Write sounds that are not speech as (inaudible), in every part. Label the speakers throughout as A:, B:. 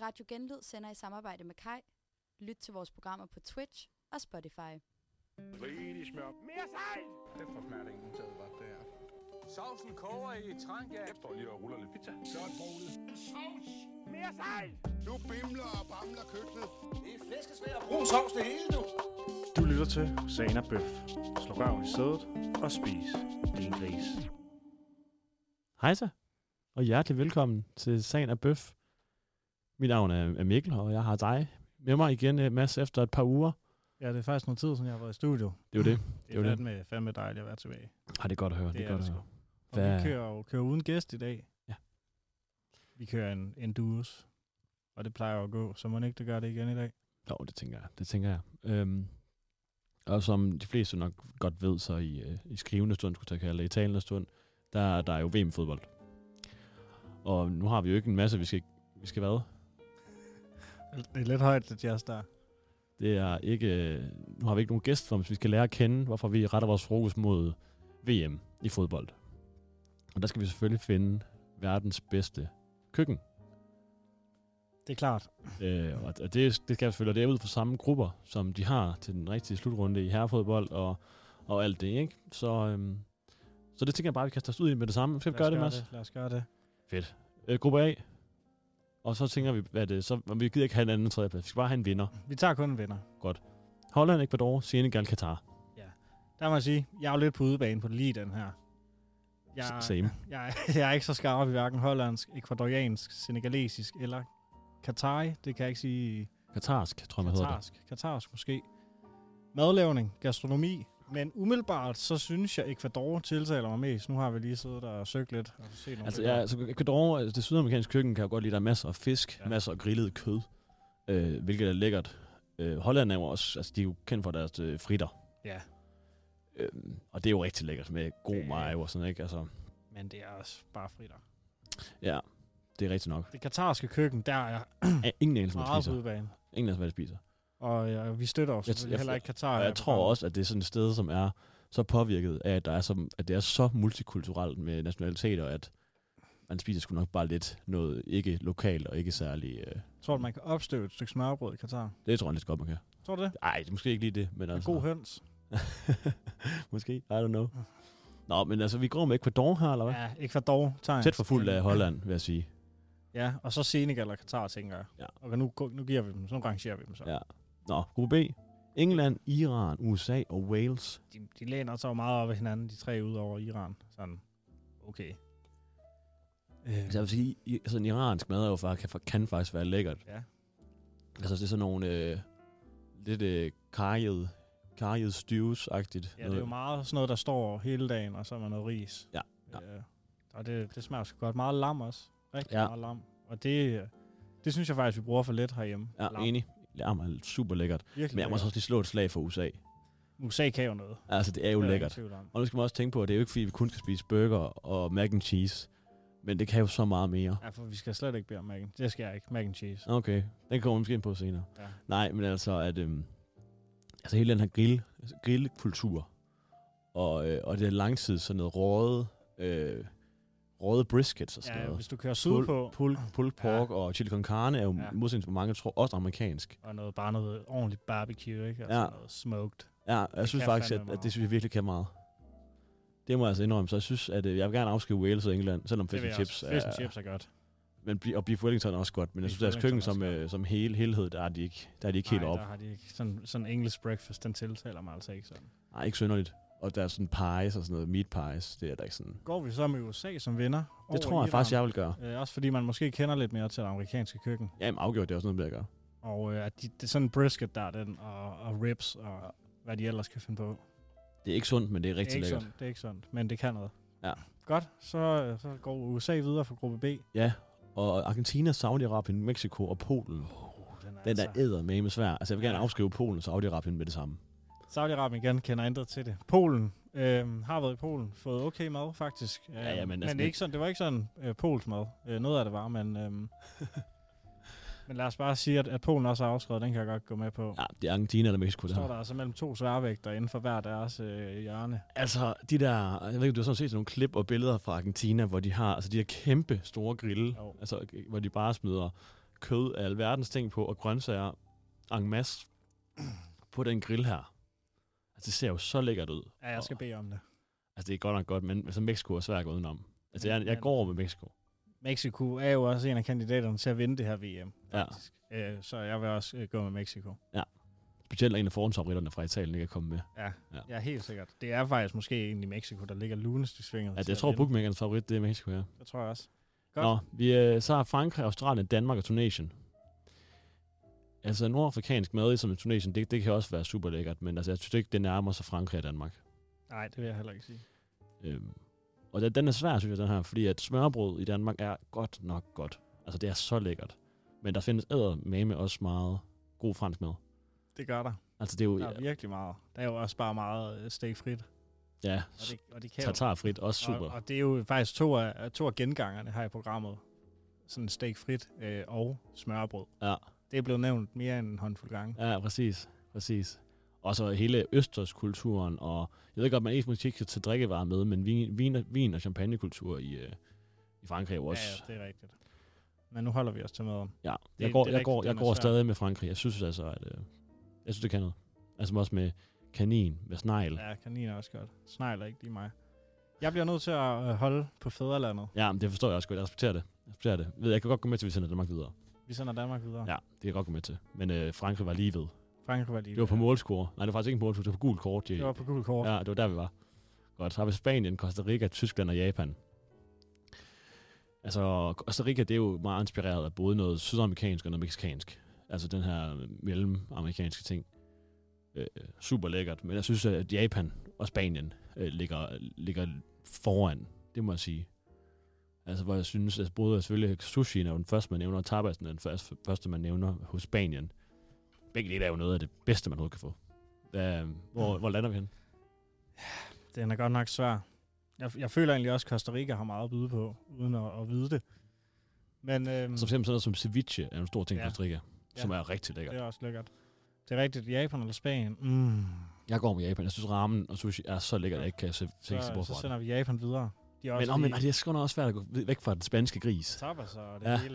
A: Radio Genlyd sender i samarbejde med Kai. Lyt til vores programmer på Twitch og Spotify.
B: Rigtig smør. Mere sejt!
C: Den får smert ingen taget godt, det her.
D: Sovsen koger i tranke.
C: Jeg står lige og ruller lidt pizza.
B: Sådan, Poul. Sovs! Mere sejt!
E: Nu bimler og bamler køkkenet.
D: Det er flæskesvær og brun sovs det hele, du.
F: Du lytter til Sana Bøf. Slå røven i sædet og spis din gris.
G: Hej så, og hjertelig velkommen til Sagen af Bøf. Mit navn er er Mikkel, og jeg har dig med mig igen, øh, Mads, efter et par uger.
H: Ja, det er faktisk noget tid, siden jeg har været i studio.
G: Det er (clears throat) jo det.
H: Det
G: jo
H: er
G: det.
H: fandme, fandme dejligt at være tilbage.
G: Ej, Ah, det er godt at høre. Det,
H: Det
G: er
H: er
G: godt
H: det
G: at
H: sgu.
G: høre.
H: Og
G: Hvad-
H: vi kører jo kører uden gæst i dag.
G: Ja.
H: Vi kører en, en duos, og det plejer jo at gå, så må ikke det gøre det igen i dag.
G: Jo, det tænker jeg. Det tænker jeg. Øhm, og som de fleste nok godt ved, så i, øh, i skrivende stund, skulle jeg kalde det, i talende stund, der, er- der er jo VM-fodbold. Og nu har vi jo ikke en masse, vi skal, vi skal hvad?
H: Det er lidt højt, det jazz der.
G: Det er ikke, øh, nu har vi ikke nogen gæst for, hvis vi skal lære at kende, hvorfor vi retter vores fokus mod VM i fodbold. Og der skal vi selvfølgelig finde verdens bedste køkken.
H: Det er klart.
G: Øh, og og det, det skal selvfølgelig, og det er ud fra samme grupper, som de har til den rigtige slutrunde i herrefodbold og, og alt det, ikke? Så, øhm, så det tænker jeg bare, at vi kan tage os ud i med det samme. Skal vi
H: Lad os
G: gøre det, Mads?
H: Lad os gøre det.
G: Øh, gruppe A. Og så tænker vi, at øh, så, vi gider ikke have en anden tredje plads. Vi skal bare have en vinder.
H: Vi tager kun en vinder.
G: Holland, Ecuador, Senegal, Katar.
H: Der må jeg sige, jeg er jo lidt på udebane på det lige den her. Jeg,
G: Same.
H: Jeg, jeg er ikke så skarp i hverken hollandsk, ekvadoriansk, senegalesisk eller katari. Det kan jeg ikke sige
G: Katarsk, tror jeg, man hedder det.
H: Katarsk, katarsk måske. Madlavning, gastronomi. Men umiddelbart, så synes jeg, Ecuador tiltaler mig mest. Nu har vi lige siddet og søgt lidt. Og set nogle
G: Altså, ja,
H: billeder.
G: altså Ecuador, altså, det sydamerikanske køkken, kan jeg godt lide, der er masser af fisk, ja.
H: Ja.
G: masser af grillet kød, øh, hvilket er lækkert. Øh, Holland er jo også, altså de er jo kendt for deres øh, fritter.
H: ja,
G: Øh, og det er jo rigtig lækkert med god
H: Ja.
G: mayo og sådan, ikke? Altså,
H: men det er også bare fritter.
G: ja, det er rigtigt nok.
H: Det katarske køkken, der er (clears throat) jeg
G: Ja, ingen anelse, hvad de
H: meget på
G: spiser.
H: udebane.
G: Ingen anelse, hvad de spiser.
H: Og ja, vi støtter os
G: Jeg-
H: selvfølgelig
G: jeg-
H: heller ikke Katar.
G: Og
H: i
G: jeg tror
H: programmet.
G: også, at det er sådan et sted, som er så påvirket af, at, der er så, at det er så multikulturelt med nationaliteter, at man spiser sgu nok bare lidt noget ikke lokalt og ikke særlig... Øh,
H: Tror du, man kan opstøve et stykke smørbrød i Katar?
G: det tror jeg lidt godt, man kan.
H: Tror du det?
G: Ej, det er måske ikke lige det, men
H: En
G: altså...
H: god høns.
G: (laughs) Måske, I don't know. Nå, men altså, vi går med Ecuador her, eller hvad? Ja.
H: Ja, Ecuador. Tegn.
G: Tæt for fuld af Holland, vil jeg sige.
H: Ja, og så Senegal og Katar, tænker jeg.
G: Ja.
H: Og nu, nu giver vi dem, så nu rangerer vi dem så.
G: Ja. Nå, gruppe B. England, Iran, USA og Wales.
H: de, de læner sig jo meget op af hinanden, de tre ud over Iran. Sådan, okay. Øh,
G: Altså, jeg vil sige, i- altså, en iransk mad er jo faktisk, kan, kan faktisk være lækkert.
H: Ja.
G: Altså, det er sådan nogle øh, lidt øh, karjede, karjede stews-agtigt.
H: ja, det er jo meget sådan noget, der står hele dagen, og så er man noget ris.
G: Ja, ja.
H: Øh, og det, det smager sgu godt. Meget lam også. Rigtig
G: Ja.
H: ja. meget lam. Og det, øh, det synes jeg faktisk, vi bruger for lidt herhjemme.
G: Ja,
H: Lam.
G: enig. Ja, man, super lækkert.
H: Virkelig
G: Men jeg må så
H: lækkert.
G: også lige slå et slag for USA.
H: USA kan jo noget.
G: Altså, det er jo
H: Det er der
G: lækkert.
H: ingen tvivl om.
G: Og nu skal man også tænke på, at det er jo ikke fordi, vi kun skal spise burger og mac and cheese. Men det kan jo så meget mere.
H: Ja, for vi skal slet ikke bede om mac and Det skal jeg ikke. Mac and cheese.
G: Okay, den kommer vi måske ind på senere. Ja.
H: Ja.
G: Nej, men altså, at øhm, altså hele den her grill, altså grillkultur, og, øh, og det er langtid sådan noget røget, øh, røget briskets og sådan
H: Ja,
G: noget.
H: hvis du kører
G: Pull-
H: sydpå,
G: pull, pull pork
H: Ja.
G: ja. og chili con carne er jo ja.
H: Ja.
G: modsætning for mange, tror også amerikansk.
H: og noget, bare noget ordentligt barbecue, ikke? Og
G: Ja.
H: ja. noget smoked.
G: Ja, jeg
H: Det
G: synes
H: kan
G: faktisk, at,
H: fandme
G: at, det
H: meget.
G: synes jeg virkelig kan meget. Det må jeg altså indrømme, så jeg synes, at øh, jeg vil gerne afskrive Wales og England, selvom
H: Det
G: fish
H: vil
G: and
H: jeg
G: chips
H: også. Fish and chips er godt.
G: Men, bi- og beef Wellington er også godt, men jeg
H: Beef
G: synes, deres
H: Wellington
G: køkken
H: er også
G: som, øh, som hele, helhed, der er de ikke, der er de ikke helt
H: Nej,
G: op.
H: der har de ikke. Sådan, sådan English breakfast, den tiltaler mig altså ikke sådan.
G: Nej, ikke synderligt. Og der er sådan pies og sådan noget, meat pies, det er der ikke sådan...
H: Går vi så med USA som vinder?
G: Det tror jeg faktisk, jeg vil gøre.
H: Øh, også fordi man måske kender lidt mere til det amerikanske køkken.
G: Jamen afgjort, det er også noget, jeg gør.
H: Og øh, at de, det er sådan brisket der, den, og, og ribs, og hvad de ellers kan finde på.
G: Det er ikke sundt, men det er
H: det er
G: rigtig
H: ikke
G: lækkert.
H: Sundt, det er ikke sundt, men det kan noget.
G: Ja. Uh,
H: Godt, så, øh, så går USA videre fra gruppe B.
G: Ja, og Argentina, Saudi-Arabien, Mexico og Polen.
H: Oh, den er
G: Den der æder med svær. Altså, jeg vil gerne
H: Ja.
G: afskrive Polen og Saudi-Arabien med det samme.
H: Saudi-Arabien igen kender intet til det. Polen. Øhm, har været i Polen. Fået okay mad, faktisk. Øhm,
G: ja, men
H: men
G: altså
H: det, er
G: ikke-
H: ikke sådan, det var ikke sådan øh, Pols mad. Øh, noget af det var, men...
G: (laughs)
H: Øhm, men lad os bare sige, at, at Polen også er afskrevet. Den kan jeg godt gå med på. Ja,
G: Ja, det er Argentina eller Mexico,
H: det
G: det
H: står
G: her.
H: der altså mellem to sværvægter inden for hver deres øh, hjørne.
G: Altså, de der... Jeg ved ikke, du har sådan set sådan nogle klip og billeder fra Argentina, hvor de har... Altså, de har kæmpe store grille.
H: Jo.
G: Altså, hvor de bare smider kød af alverdens ting på, og grøntsager en masse på den grill her. Altså, det ser jo så lækkert ud.
H: Ja, jeg skal
G: Og-
H: bede om det.
G: Altså, det er godt nok godt, men altså, Mexico er svært gået udenom. Altså,
H: Men-
G: jeg, jeg
H: men-
G: går med Mexico.
H: Mexico er jo også en af kandidaterne til at vinde det her VM,
G: Ja.
H: faktisk. Ja. Øh, så jeg vil også øh, gå med Mexico.
G: Specielt er en af forhåndsoprytterne fra Italien ikke er kommet med.
H: Ja, ja,
G: Ja.
H: jeg er helt sikkert. Det er faktisk måske egentlig Mexico, der ligger lunest i svinget.
G: Altså, jeg tror, bookmakerens favorit, det er Mexico, ja.
H: Det tror jeg også. Godt.
G: Nå, vi, øh, så har Frankrig, Australien, Danmark og Tunesien. Altså, nordafrikansk mad, som i Tunesien, det, det kan også være super lækkert, men altså, jeg synes ikke, det nærmer sig Frankrig og Danmark.
H: Nej, det vil jeg heller ikke sige.
G: Øhm, og den- den er svær, synes jeg, den her, fordi at smørbrød i Danmark er godt nok godt. Altså, det er så lækkert. Men der findes eddermame også meget god fransk mad.
H: Det gør der.
G: Altså, det er jo...
H: Der er virkelig meget. Der er jo også bare meget øh, stegfrit.
G: Ja,
H: Og det, og det kan jo-
G: tatarfrit, også super.
H: Og, og det er jo faktisk to af, øh, to af gengangerne her i programmet. Sådan stegfrit øh, og smørbrød.
G: Ja.
H: Det er blevet nævnt mere end en håndfuld gange.
G: Ja, præcis. Præcis. Og så hele østerskulturen, og jeg ved godt, man ikke måske ikke kan tage drikkevarer med, men vin, vin, og- vin og champagnekultur i, øh, i Frankrig er jo også.
H: Ja, ja, det er rigtigt. Men nu holder vi os til med om.
G: Ja, jeg
H: det er
G: går, jeg
H: rigtigt,
G: går,
H: den
G: jeg
H: er
G: går
H: svær.
G: stadig med Frankrig. Jeg synes altså, at øh, jeg synes, det kan noget. Altså også med kanin, med snegl. Ja,
H: Ja, kanin er også godt. Snegler ikke lige mig. Jeg bliver nødt til at øh, holde på fædrelandet.
G: ja men det forstår jeg også godt. Jeg respekterer det. Jeg respekterer det. Jeg ved, jeg kan godt gå med til, at vi sender Danmark videre.
H: Vi sender Danmark videre.
G: Ja, det kan jeg godt gå med til. Men øh, Frankrig var lige ved.
H: Frankrig var lige
G: Det var på
H: der.
G: målscore. Nej, det var faktisk ikke en målscore. Det var på gul kort.
H: Det var på gul kort.
G: Ja, det var der, vi var. Godt, så har vi Spanien, Costa Rica, Tyskland og Japan. Altså, Costa Rica, det er jo meget inspireret af både noget sydamerikansk og noget mexikansk. Altså den her mellemamerikanske ting. Øh, super lækkert, men jeg synes, at Japan og Spanien øh, ligger, ligger foran, det må jeg sige. Altså, hvor jeg synes, at både selvfølgelig sushi er jo den første, man nævner, og tapasen er den første, første, man nævner hos Spanien. Begge dele er jo noget af det bedste, man overhovedet kan få. Hvad, hvor, hvor lander vi hen?
H: Den er godt nok svær. Jeg, jeg føler egentlig også, at Costa Rica har meget at byde på, uden at, at vide det. Men øhm,
G: Som eksempel sådan noget som ceviche er en stor ting i
H: Ja.
G: Costa Rica, som
H: Ja.
G: er rigtig lækker.
H: det er også lækkert. Det er rigtigt. Japan eller Spanien? Mm.
G: Jeg går med Japan. Jeg synes, ramen og sushi er så lækkert, at jeg ikke kan se, se ikke se
H: så,
G: bort
H: så
G: fra det.
H: sender vi Japan videre. De er
G: Men,
H: også
G: oh, men
H: lige
G: nej, det er sgu nok også svært at gå væk fra den spanske gris
H: tapas og det
G: Ja,
H: hele.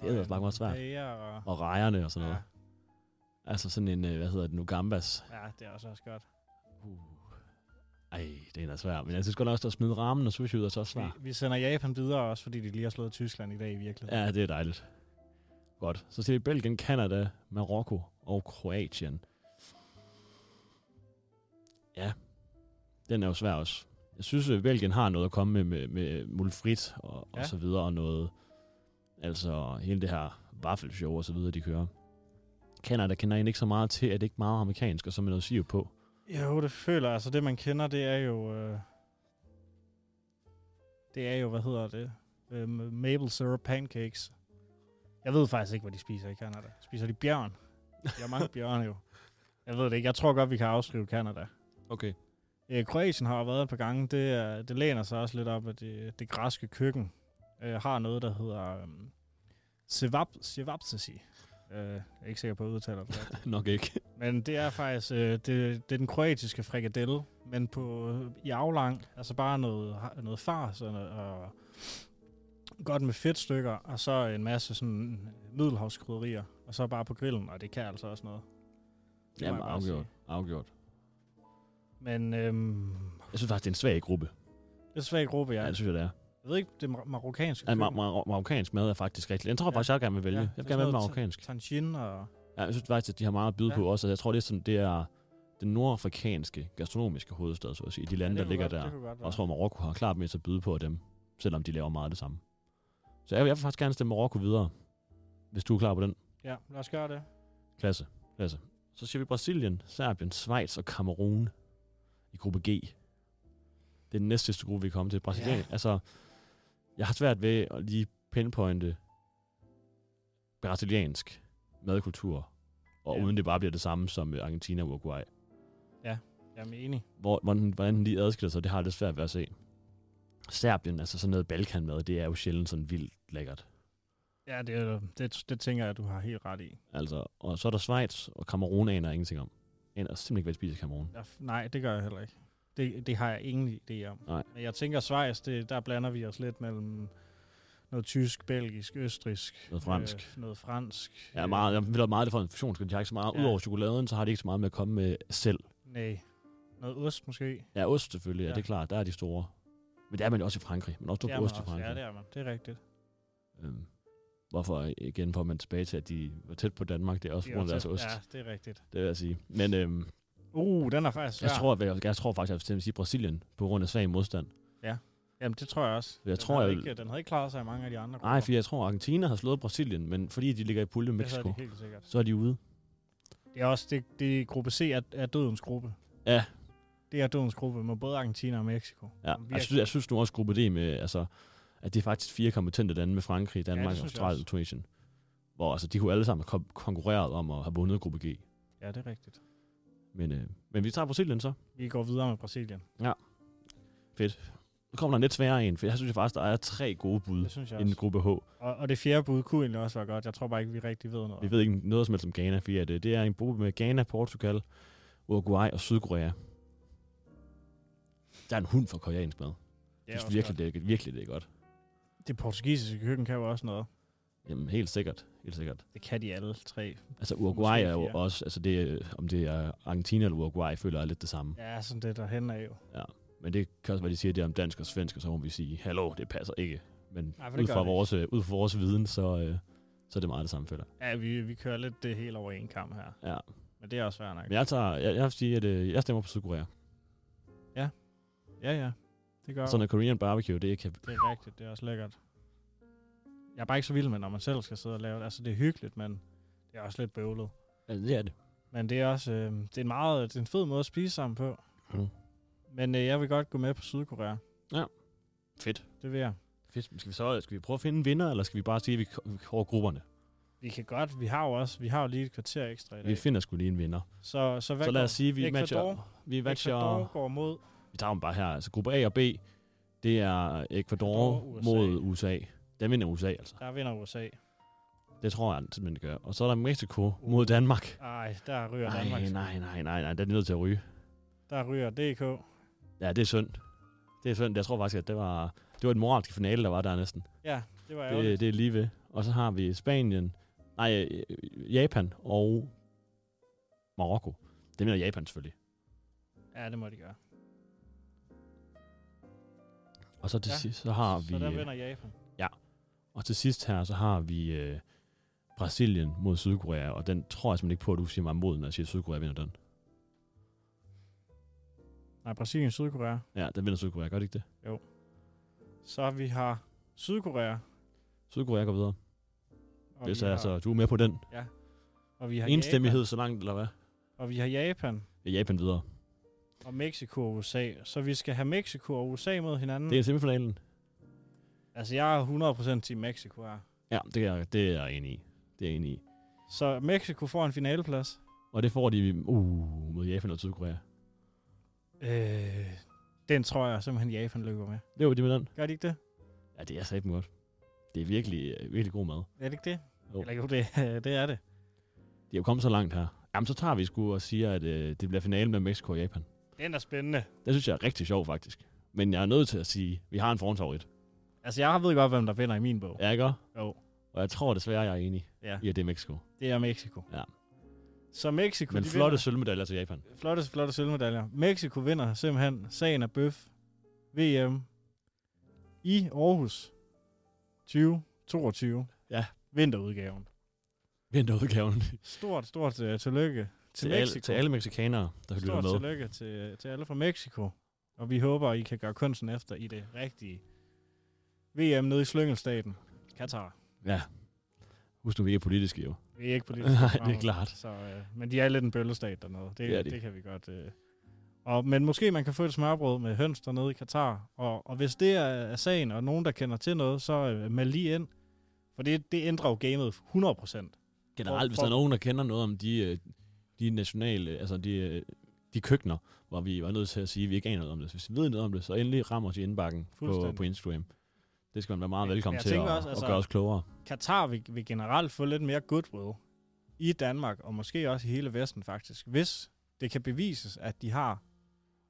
G: det er ellers nok meget svært.
H: bager Og,
G: og rejerne og sådan
H: ja,
G: noget. Altså sådan en, øh, hvad hedder den, Ugambas.
H: ja, det er også, også godt.
G: Uh. Ej, det er svært. Men jeg synes godt nok også, at smide ramen og sushi ud er så også svært.
H: Vi, vi sender Japan videre også, fordi de lige har slået Tyskland i dag i virkeligheden.
G: Ja, det er dejligt. Godt. Så siger vi Belgien, Kanada, Marokko og Kroatien. Ja, den er jo svær også. Jeg synes, at Belgien har noget at komme med med, med mulfrit og, ja.
H: Ja.
G: og så videre, og noget, altså hele det her vaffelshow og så videre, de kører. Kanada kender egentlig ikke så meget til, at det ikke er meget amerikansk, og så med noget siv på.
H: Jo, det føler jeg. Altså, det man kender, det er jo... Øh, det er jo, hvad hedder det? Øh, maple syrup pancakes. Jeg ved faktisk ikke, hvad de spiser i Canada. Spiser de bjørn? De har mange bjørne jo. Jeg ved det ikke. Jeg tror godt, vi kan afskrive Canada.
G: Okay.
H: Øh, Kroatien har jo været et par gange. Det, er, det læner sig også lidt op, at det, det græske køkken øh, har noget, der hedder øh, sevap, sevapsasi. Øh, jeg er ikke sikker på, at jeg udtaler det. rigtigt.
G: (laughs) Nok ikke.
H: Men det er faktisk øh, det, det er den kroatiske frikadelle, men på øh, i aflang, altså bare noget noget fars og, noget- og godt med fedtstykker og så en masse sådan middelhavskrydderier og så bare på grillen, og det kan altså også noget. Det må
G: Jamen,
H: jeg bare sige.
G: afgjort. afgjort.
H: Men øhm,
G: Jeg synes faktisk, det er en svag gruppe.
H: det er svag gruppe,
G: Ja,
H: jeg,
G: ja det synes jeg, det er.
H: jeg ved ikke, det mar- marokkanske
G: Ja,
H: køkken.
G: mar- mar- marokkansk mad er faktisk rigtig. Jeg tror
H: Ja.
G: faktisk, jeg gerne vil vælge.
H: Ja,
G: Ja,
H: det er
G: jeg vil gerne
H: sådan
G: vælge
H: noget
G: marokkansk.
H: Tangin og...
G: Ja, jeg synes faktisk, at de har meget at byde
H: Ja.
G: ja. på også. og Jeg tror, det er sådan, det er den nordafrikanske gastronomiske hovedstad, så at sige. De lande,
H: Ja,
G: ja,
H: det kunne
G: der ligger
H: godt, Det
G: der.
H: kunne godt være.
G: Og jeg tror, Marokko har klart mest at byde på af dem, selvom de laver meget af det samme. Så jeg, jeg vil faktisk gerne stemme Marokko videre, hvis du er klar på den
H: Ja, lad os gøre det.
G: klasse. klasse. Så siger vi Brasilien, Serbien, Schweiz og Kamerun i gruppe G. Det er den næste gruppe, vi kommer til. Brasilien,
H: Ja.
G: ja. altså, jeg har svært ved at lige pinpointe brasiliansk madkultur, og
H: Ja.
G: ja. uden det bare bliver det samme som øh, Argentina og Uruguay.
H: Jamen, enig.
G: Hvor, hvordan, hvordan de adskiller sig, det har jeg lidt svært ved at se. Serbien, altså sådan noget balkanmad, det er jo sjældent sådan vildt lækkert.
H: Ja, det, det, det tænker jeg, du har helt ret i.
G: Altså, og så er der Schweiz, og Kamerun aner jeg ingenting om. Jeg aner simpelthen ikke, hvad de spiser i Kamerun.
H: Jeg, nej, det gør jeg heller ikke. Det, det har jeg ingen idé om.
G: Nej.
H: Men jeg tænker, Schweiz, det, der blander vi os lidt mellem noget tysk, belgisk, østrisk.
G: Noget fransk.
H: Øh, noget fransk.
G: Ja, meget, jeg vil have meget det for en fusionskøn. De har ikke så meget.
H: Ja.
G: Udover chokoladen, så har de ikke så meget med at komme med selv.
H: Nej. Noget ost måske.
G: Ja, ost selvfølgelig, ja,
H: Ja.
G: det er klart. Der er de store. Men det er man jo også i Frankrig. Man er også stor
H: Det
G: på
H: er man
G: ost i
H: også.
G: Frankrig.
H: Ja, det er man. Det er rigtigt.
G: Øhm, hvorfor igen får man tilbage til, at de var tæt på Danmark. Det er også
H: De er
G: på grund af deres
H: tæt-
G: ost.
H: Ja, det er rigtigt.
G: Det vil jeg sige. Men øhm,
H: Uh, den er faktisk svær.
G: jeg, tror, jeg, jeg, tror faktisk, at jeg vil stemme- sige Brasilien på grund af svag modstand.
H: Jamen, det tror jeg også.
G: Jeg
H: den
G: tror,
H: havde
G: jeg-
H: Ikke, den havde ikke klaret sig i mange af de andre
G: Nej, fordi jeg tror, Argentina har slået Brasilien, men fordi de ligger i pulje med
H: det havde
G: Mexico,
H: de helt sikkert.
G: så er de ude.
H: Det er også, det, det gruppe C er, er dødens gruppe.
G: Ja.
H: Det er dødens gruppe med både Argentina og Mexico.
G: Ja.
H: Virkelig.
G: Jeg, synes, jeg synes nu også, gruppe D med, altså, at det er faktisk fire kompetente lande med Frankrig,
H: det
G: Danmark, ja,
H: synes jeg
G: Australien
H: også.
G: og Tunesien. Hvor altså, de kunne alle sammen have kom- konkurreret om at have vundet gruppe G.
H: Ja, det er rigtigt.
G: Men, øh, men vi tager Brasilien så.
H: Vi går videre med Brasilien.
G: Nu kommer der en lidt sværere en, for jeg synes jo faktisk, der er tre gode bud
H: Det synes jeg
G: inden
H: også.
G: gruppe H.
H: Og, og det fjerde bud kunne egentlig også være godt. Jeg tror bare ikke, vi rigtig ved noget.
G: Vi ved ikke noget som helst om Ghana, fordi at, øh, det er en gruppe med Ghana, Portugal, Uruguay og Sydkorea. Der er en hund for koreansk mad.
H: det
G: jeg
H: er
G: synes
H: også
G: virkelig, det er, virkelig, det er godt.
H: godt. Det portugisiske køkken kan jo også noget.
G: Jamen, helt sikkert. Helt sikkert.
H: Det kan de alle tre.
G: Altså Uruguay er jo
H: fire.
G: også, altså det, øh, om det er Argentina eller Uruguay, føler jeg er lidt det samme. Ja.
H: Ja, sådan det der hen af jo.
G: Men det kan også være, de siger det er om dansk og svensk, og så må vi sige, hallo, det passer ikke. Men
H: Nej,
G: Ej,
H: for det
G: ud,
H: gør
G: fra
H: det
G: vores, øh, ud fra vores viden, så, øh, så er det meget det samme, føler jeg.
H: Ja, vi, vi kører lidt det hele over en kamp her.
G: Ja.
H: Men det er også svært nok.
G: Men jeg, tager, jeg, jeg vil sige, at øh, jeg stemmer på Sydkorea.
H: Ja, ja. Det gør
G: Ja. Sådan
H: det.
G: at Korean barbecue, det kan...
H: Det er rigtigt. Det er også lækkert. Jeg er bare ikke så vild med, når man selv skal sidde og lave det. Altså, det er hyggeligt, men det er også lidt bøvlet.
G: Ja, det er det.
H: Men det er også øh, det er en meget det er en fed måde at spise sammen på.
G: Mm.
H: Men øh, jeg vil godt gå med på Sydkorea.
G: Fedt.
H: Det vil jeg.
G: Fedt. Skal vi så øh, skal vi prøve at finde en vinder, eller skal vi bare sige, at vi k- vi over grupperne?
H: Vi kan godt. Vi har jo også vi har jo lige et kvarter ekstra i dag.
G: Vi finder sgu lige en vinder.
H: Så, så, hvad
G: så lad
H: går-
G: os sige, at vi
H: Ecuador?
G: matcher... Vi matcher...
H: Ecuador går mod
G: Vi tager dem bare her. Altså gruppe A og B, det er Ecuador,
H: Ecuador,
G: Ecuador
H: USA.
G: mod USA. Der vinder USA, altså.
H: der vinder USA.
G: Det tror jeg simpelthen, det gør. Og så er der Mexico uh. mod Danmark.
H: Ej, der ryger Danmark.
G: Nej, nej, nej, nej, nej. Den er nødt til at ryge.
H: Der ryger DK.
G: Ja, det er synd. Det er synd. Jeg tror faktisk, at det var, det var et moralsk finale, der var der næsten.
H: Ja, det var ærgerligt.
G: Det, det er lige ved. Og så har vi Spanien, nej, øh, Japan og Marokko. Det mener Japan selvfølgelig.
H: Ja, det må de gøre.
G: Og så til
H: Ja.
G: ja. sidst, så har vi...
H: Så der
G: øh,
H: vinder Japan.
G: Og til sidst her, så har vi øh, Brasilien mod Sydkorea, og den tror jeg simpelthen ikke på, at du siger mig imod, når jeg siger, at Sydkorea vinder den.
H: Nej, Brasilien, Sydkorea.
G: Ja, den vinder Sydkorea, gør det ikke det?
H: Så vi har Sydkorea.
G: Sydkorea går videre.
H: Og
G: Hvis
H: vi har,
G: altså, du er med på den.
H: og vi har
G: Enstemmighed så langt, eller hvad?
H: Japan,
G: Mm.
H: og vi har Japan
G: Ja, Japan videre.
H: og Mexico og USA. Så vi skal have Mexico og USA mod hinanden.
G: Det er semifinalen.
H: Altså, jeg er 100% til Mexico her.
G: Ja, det er, det er jeg enig i. Det er jeg enig i.
H: Så Mexico får en finaleplads.
G: Og det får de uh, mod Japan og Sydkorea.
H: Øh, den tror jeg simpelthen Japan lykker med.
G: Det var det med den.
H: Gør de ikke det?
G: Ja, det er satme godt. Det er virkelig, øh, virkelig god mad.
H: Er det ikke det?
G: Jo.
H: Eller jo, det, (laughs) det er det.
G: De er jo kommet så langt her. Jamen, så tager vi sgu og siger, at øh, det bliver finalen med Mexico og Japan.
H: Den er spændende.
G: Det synes jeg er rigtig sjovt, faktisk. Men jeg er nødt til at sige, at vi har en forhåndsfavorit.
H: Altså, jeg ved godt, hvem der vinder i min bog.
G: Ja, ikke? også?
H: Jo.
G: Og jeg tror desværre, jeg er enig
H: Ja.
G: i, at det er Mexico.
H: Det er Mexico.
G: Ja.
H: Så Mexico,
G: Men
H: de
G: flotte sølvmedaljer til Japan.
H: vinder, flotte, flotte sølvmedaljer. Mexico vinder simpelthen sagen af bøf. VM i Aarhus 2022.
G: Ja.
H: Vinterudgaven.
G: Vinterudgaven.
H: Stort, stort uh, tillykke til,
G: til,
H: til
G: alle,
H: Mexico.
G: til alle mexikanere, der lytter
H: stort
G: med.
H: tillykke til, til alle fra Mexico. Og vi håber, I kan gøre kunsten efter i det rigtige VM nede i slyngelstaten. Katar.
G: Ja. Husk nu, vi ikke er politiske jo.
H: Vi er ikke på
G: (laughs)
H: det.
G: Nej, det er klart.
H: Så, øh, men de er lidt en bøllestat dernede. Det,
G: Det
H: det,
G: er
H: er
G: de.
H: det kan vi godt... Øh. Og, men måske man kan få et smørbrød med høns dernede i Katar. Og, og hvis det er, er sagen, og nogen, der kender til noget, så øh, meld lige ind. For det, det ændrer jo gamet 100 procent.
G: Generelt, hvis
H: for-
G: der er nogen, der kender noget om de, øh, de nationale, altså de, øh, de køkkener, hvor vi var nødt til at sige, at vi ikke aner noget om det. Så hvis vi ved noget om det, så endelig rammer os i indbakken på,
H: Fuldstændig.
G: på Instagram. Det skal man være meget
H: Men
G: velkommen
H: jeg
G: til at
H: tænker også, altså-
G: og gøre os klogere.
H: Katar vil, vil generelt få lidt mere goodwill i Danmark, og måske også i hele Vesten faktisk, hvis det kan bevises, at de har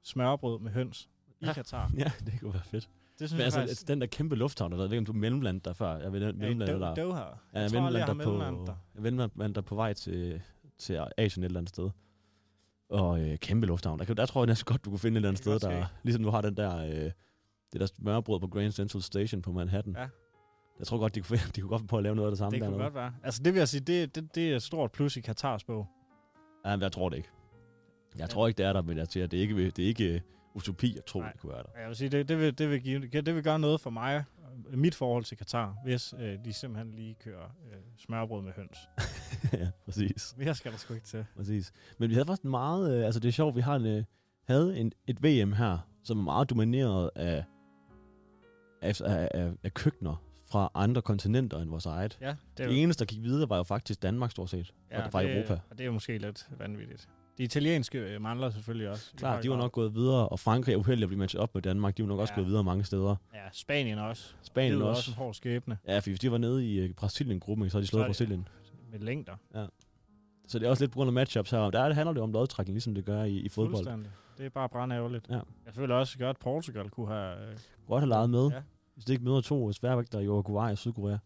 H: smørbrød med høns i
G: Ja.
H: Katar.
G: Ja, (laughs) det kunne være fedt.
H: Det synes
G: Men
H: jeg
G: altså,
H: faktisk.
G: altså, den der kæmpe lufthavn, der, jeg ved ikke, om du mellemlandet der før. Jeg ved, den mellemlandet
H: Doha.
G: der.
H: Doha.
G: Ja,
H: Jeg, jeg tror aldrig, jeg har
G: mellemlandet der
H: mellemlandet
G: på,
H: der.
G: jeg mellemlandet der på vej til, til Asien et eller andet sted. Og øh, kæmpe lufthavn. Der, kan, der tror jeg næsten godt, du kunne finde et eller andet
H: Det kan
G: sted,
H: godt
G: der... Ligesom du har den der... Øh, det der smørbrød på Grand Central Station på Manhattan.
H: Ja.
G: Jeg tror godt, de kunne, de kunne godt på at lave noget af det samme
H: Det kunne
G: dernede.
H: godt være. Altså, det vil jeg sige, det, det, det er et stort plus i Katars bog.
G: Ja, men jeg tror det ikke. Jeg
H: Ja.
G: tror ikke, det er der, men jeg siger, det er ikke, det er ikke øh, utopi at tro,
H: Nej.
G: det kunne være der. (laughs)
H: Og Jeg vil sige, det, det, vil, det, vil give, det vil gøre noget for mig, og mit forhold til Katar, hvis øh, de simpelthen lige kører øh, smørbrød med høns. (laughs)
G: ja, præcis.
H: Mere skal der sgu ikke til.
G: Præcis. Men vi havde faktisk en meget... Øh, altså, det er sjovt, vi har en, øh, havde en, et VM her, som er meget domineret af, af, af, af, af køkkener fra andre kontinenter end vores eget.
H: Ja, det, er jo-
G: Det eneste, der gik videre, var jo faktisk Danmark stort set, ja, og fra
H: det,
G: Europa.
H: Og det er jo måske lidt vanvittigt. De italienske øh, mangler selvfølgelig også. i høj
G: Klart, de var
H: grad.
G: nok gået videre, og Frankrig er uheldig at blive matchet op med Danmark. De var nok ja. også
H: Ja.
G: gået videre mange steder.
H: Ja, Spanien også.
G: Spanien
H: Det er jo
G: også.
H: en hård skæbne
G: Ja, for hvis de var nede i øh, Brasilien-gruppen, ikke, så har de slået
H: Så er det-
G: Brasilien.
H: med længder.
G: Så det er også lidt på grund af matchups her. Der er- handler det om lodtrækning, ligesom det gør i, i fodbold.
H: Fuldstændig. Det er bare brændærgerligt.
G: Ja.
H: Jeg føler også godt, at Portugal kunne have... Øh,
G: Godt have leget med.
H: Ja.
G: Ja. Hvis det ikke møder to øh, sværvægter i Uruguay og Sydkorea.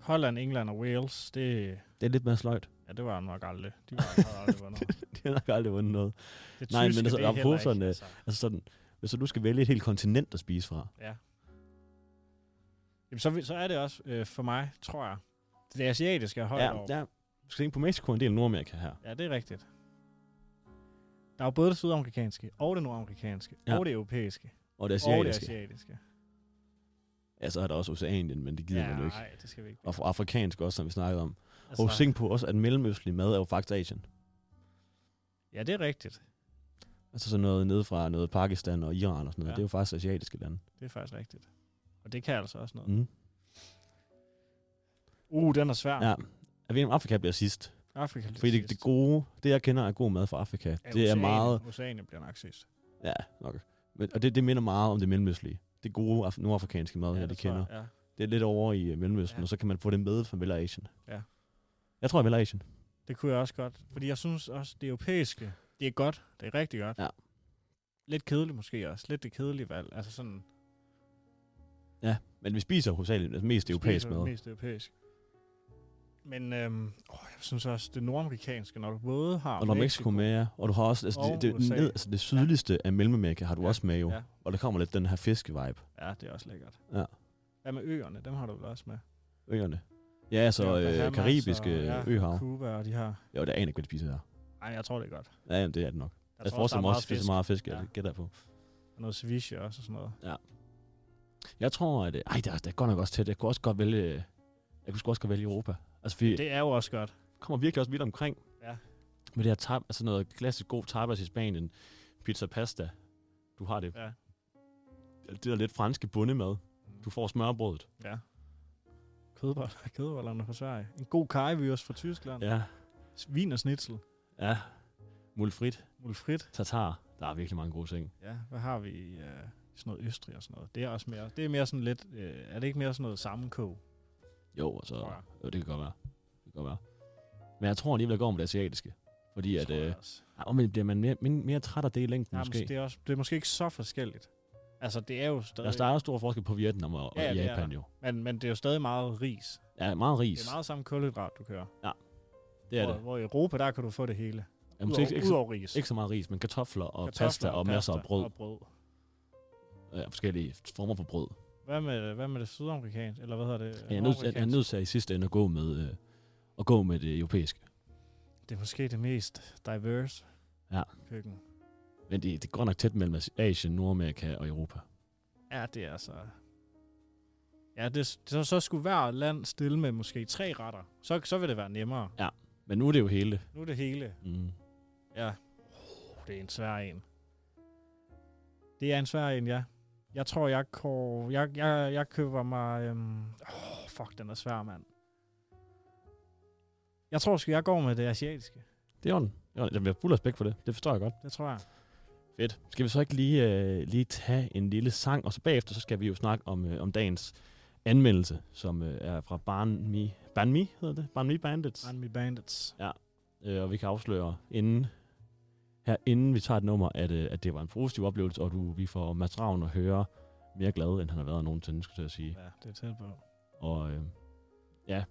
H: Holland, England og Wales, det,
G: Det er lidt mere sløjt.
H: ja, det var nok aldrig. De var havde aldrig
G: (laughs)
H: vundet.
G: de har nok aldrig vundet noget.
H: Det
G: Nej, men
H: tyske,
G: altså,
H: det er heller
G: apropos
H: ikke,
G: sådan, øh,
H: altså.
G: Altså sådan, hvis så du skal vælge et helt kontinent at spise fra.
H: Jamen, så, vi- så er det også øh, for mig, tror jeg, det asiatiske er højt
G: Ja,
H: ja, over.
G: ja. Du skal tænke på Mexico og en del af Nordamerika her.
H: Ja, det er rigtigt. Der er jo både det sydamerikanske, og det nordamerikanske,
G: Ja.
H: ja. og det europæiske,
G: Og det
H: og det
G: asiatiske.
H: asiatiske.
G: Ja, så er der også Oceanien, men det gider
H: ja,
G: man jo ikke.
H: nej, det skal vi ikke. Altså,
G: Og afrikansk også, som vi snakkede om. Og tænk på også, at mellemøstlig mad er jo faktisk Asien.
H: ja, det er rigtigt.
G: Altså sådan noget nede fra noget Pakistan og Iran og sådan noget.
H: Ja.
G: Det er jo faktisk asiatiske lande.
H: Det er faktisk rigtigt. Og det kan altså også noget.
G: Mm.
H: Uh, den er svær.
G: Ja. Jeg ved, om Afrika bliver sidst.
H: Afrika
G: Fordi det, det, gode, det jeg kender er god mad fra Afrika. det er meget,
H: Oceanien bliver nok sidst.
G: ja, nok. Men- Og det, det minder meget om det mellemøstlige. Det gode af, nordafrikanske mad, ja, jeg
H: det
G: det
H: tror
G: kender.
H: Jeg, ja.
G: Det er lidt over i øh, Mellemøsten,
H: Ja.
G: ja. og så kan man få det med fra Vel Asien.
H: Ja.
G: Jeg tror, jeg vælger Asien.
H: Det kunne jeg også godt. Fordi jeg synes også, det europæiske, det er godt. Det er rigtig godt.
G: Ja.
H: Lidt kedeligt måske også. Lidt det kedelige valg. Altså sådan...
G: Men vi spiser jo hovedsageligt det mest europæisk
H: spiser
G: mad.
H: Mest europæisk. Men øhm, åh, jeg synes også, det nordamerikanske, når du både har
G: Og når Mexico med er, og du har også altså,
H: Og
G: det, det,
H: USA.
G: ned, altså, det sydligste af Mellemamerika har du
H: Ja.
G: også med jo.
H: Ja.
G: Og der kommer lidt den her fiskevibe.
H: ja, det er også lækkert.
G: Ja.
H: Hvad med øerne? Dem har du vel også med?
G: Øerne. Ja, altså
H: Det er
G: øh,
H: Bahamas
G: karibiske
H: og- ja,
G: ja, øhav.
H: Cuba og de her.
G: Jo, det aner ikke, hvad de spiser her.
H: Nej, jeg tror, det er godt.
G: Ja, jamen, det er det nok. Jeg, jeg
H: tror der
G: forestiller
H: er
G: mig
H: meget
G: også, at det er
H: fisk
G: så meget fisk,
H: Ja.
G: jeg gætter på.
H: og noget ceviche også og sådan noget.
G: Jeg tror, at... øh, Ej, der, der er godt nok også tæt. Jeg kunne også godt vælge... øh, Jeg kunne sgu også godt vælge Europa. Altså, fordi
H: Det er jo også godt.
G: kommer virkelig også vidt omkring.
H: Ja.
G: Med det her tab, altså noget klassisk god tapas i Spanien. Pizza pasta. Du har det.
H: Ja.
G: Det der lidt franske bundemad. Du får smørbrødet.
H: Kødboller, (laughs) kødbollerne fra Sverige. En god karrievirus fra Tyskland. Ja.
G: Ja.
H: Vin og snitsel.
G: Ja. Mulfrit.
H: Mulfrit.
G: Tatar. Der er virkelig mange gode ting.
H: Ja, hvad har vi i øh, sådan noget Østrig og sådan noget? Det er også mere, det er mere sådan lidt, øh, er det ikke mere sådan noget sammenkog?
G: Jo, altså,
H: Tror jeg.
G: jo, det kan godt være. Det kan godt være. Men jeg tror alligevel, jeg går med det asiatiske. Fordi at,
H: tror jeg
G: øh,
H: også.
G: ej, men bliver man mere, men- mere træt af det i længden
H: Ja,
G: ja,
H: måske.
G: måske.
H: Det, er også, det er måske ikke så forskelligt. Altså, det er jo
G: Der,
H: stadig,
G: der er jo stor forskel på Vietnam og, og
H: Ja,
G: ja,
H: det er
G: Japan jo.
H: men, men det er jo stadig meget ris.
G: Ja, meget ris.
H: Det er meget samme kulhydrat, du kører.
G: det er
H: hvor,
G: det.
H: hvor, i Europa, der kan du få det hele.
G: Ja,
H: Udover,
G: måske ikke,
H: ikke,
G: ikke,
H: udover ris.
G: ikke så meget ris, men kartofler og
H: Kartofler
G: pasta og, masser af
H: pasta
G: brød.
H: Og brød.
G: øh, forskellige former for brød.
H: Hvad med, hvad med det sydamerikanske? Eller hvad hedder det?
G: Jeg er, nødt, jeg, jeg er
H: Nordamerikanske?
G: nødt til at i sidste ende at gå med, øh, at gå med det europæiske.
H: Det er måske det mest diverse
G: Ja.
H: køkken.
G: Men det, det går nok tæt mellem As- Asien, Nordamerika og Europa.
H: Ja, det er altså... Ja, det, så, så skulle hver land stille med måske tre retter. Så, så vil det være nemmere.
G: Men nu er det jo hele.
H: Nu er det hele.
G: Mm.
H: Ja. Oh, det er en svær en. Det er en svær en, ja. Jeg tror, jeg, kår, jeg, jeg, jeg køber mig... Øhm, oh, fuck, den er svær, mand. Jeg tror sgu, jeg går med det asiatiske.
G: Det er orden. Det er orden. Jeg har fuld respekt for det. Det forstår jeg godt.
H: Det tror jeg.
G: Fedt. Skal vi så ikke lige, øh, lige tage en lille sang, og så bagefter så skal vi jo snakke om, øh, om dagens anmeldelse, som øh, er fra Barn Mi. Barn Mi hedder det? Barn Mi Bandits.
H: Army Bandits.
G: Øh, og vi kan afsløre inden, her inden vi tager et nummer, at, øh, at det var en positiv oplevelse, og du, vi får Mads Ravn at høre mere glad, end han har været nogensinde, skulle jeg til at sige.
H: Ja, det er tæt på.
G: Og øh, ja,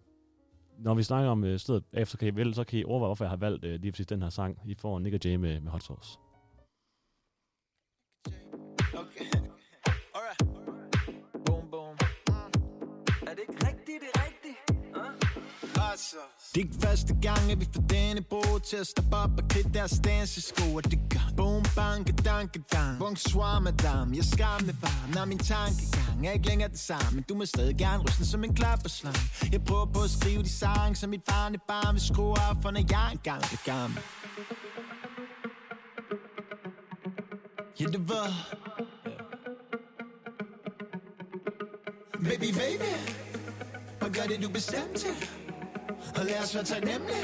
G: når vi snakker om øh, stedet efter, kan I vel, så kan I overveje, hvorfor jeg har valgt øh, lige præcis den her sang. I får Nick og Jay med, med Hot Sauce.
D: Okay. Alright. Boom, boom. Er det ikke rigtigt, det er rigtigt? Altså.
I: Det er ikke første gang, at vi får denne bro til at stoppe op og kridte deres dansesko, og det gør boom, banke, danke, dang. Bonsoir, madame, jeg skammer varm, når min tankegang er ikke længere den samme, men du må stadig gerne ryste den som en klapperslang. Jeg prøver på at skrive de sange, som mit barnebarn vil skrue op, for når jeg engang er gammel. Ja, det var... Baby, baby, og gør det du bestemte. Og lad os være taknemmelige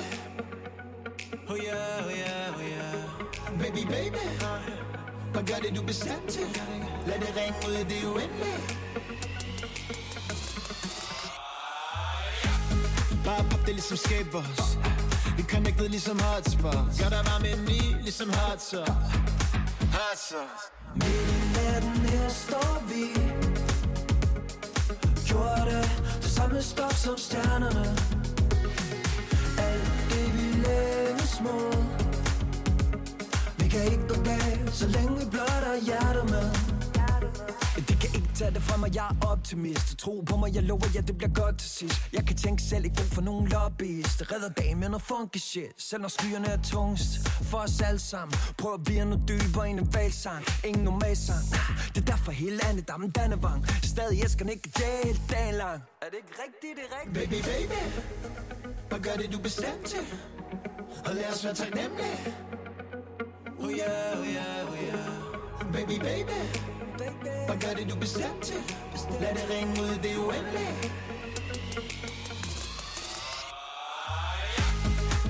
I: Oh yeah, oh yeah, oh yeah Baby, baby Hvad gør det du bestemt til? Lad det ringe ud i det uendelige Bare pop det ligesom skateboards Vi connected ligesom hotspots Gør dig varm indeni ligesom hot sauce Hot sauce Midt i natten her står vi Gjorde det samme stof som stjernerne alt det vi længes mod Vi kan ikke gå galt, så længe vi blot har hjertet med
J: Det kan ikke tage det fra mig, jeg er optimist Tro på mig, jeg lover jer, det bliver godt til sidst Jeg kan tænke selv, ikke brug for nogen lobbyist Redder dagen med noget funky shit Selv når skyerne er tungst For os alle sammen Prøv at blive noget dybere end en valsang Ingen normal sang Det er derfor hele landet, der er Dannevang Stadig elsker den ikke dag, hele dagen lang Er det ikke rigtigt, det er rigtigt?
I: Baby, baby Hvad gør det du bestemt til? Og lad os være taknemmelige Oh yeah, oh yeah, oh yeah Baby, baby Hvad gør det du bestemt til? Lad det ringe ud i det uendelige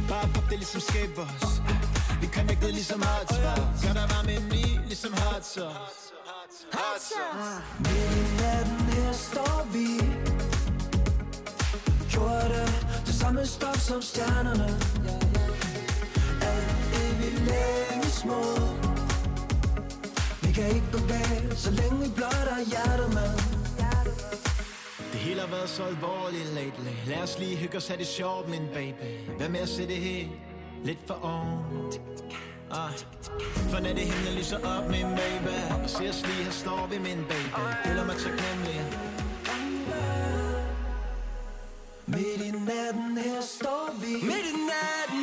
I: Bare pop det ligesom skateboards Vi connected ligesom hot spots Gør dig varm indeni ligesom hot sauce Hot sauce
J: Midt i natten her står vi Gjorde det samme stof som stjernerne Alt det vi længes mod Vi kan ikke gå galt, så længe vi blot har hjertet med
I: Det hele har været så alvorligt lately Lad os lige hygge os have det sjovt, min baby Hvad med at se det helt lidt for oven? Ah. For når det himlen lyser op, min baby Og se os lige, her står vi, min baby Føler mig taknemmelig
J: Midt i natten her står vi Midt i natten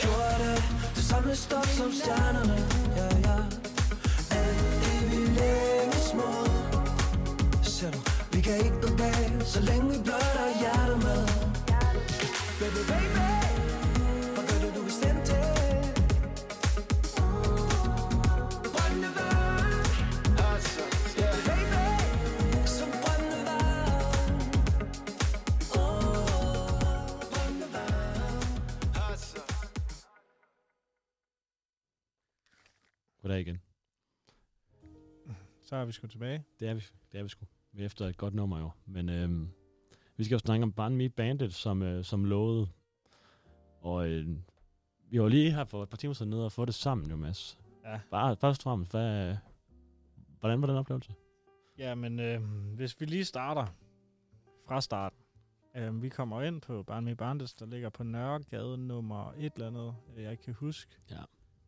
J: Gjorde det samme stof som stjernerne Ja, ja Alt det vi længes mod Ser du, vi kan ikke gå galt Så længe vi blot har hjertet med Baby, baby Hvad gør det, du bestemt til? Brændende vand Baby, baby Som brændende vand
G: Goddag igen.
H: Så er vi sgu tilbage.
G: Det er vi, det er vi sgu. Vi er efter et godt nummer jo. Men øhm, vi skal jo snakke om Barn Me Bandit, som, øh, som lovede. Og øh, vi var lige her for et par timer siden nede og få det sammen jo, Mads.
H: Ja.
G: Bare, først og fremmest, hvad, hvordan var den oplevelse?
H: Ja, men øh, hvis vi lige starter fra starten. Øh, vi kommer ind på Barn med Barndes, der ligger på Nørregade nummer et eller andet, øh, jeg ikke kan huske.
G: Ja.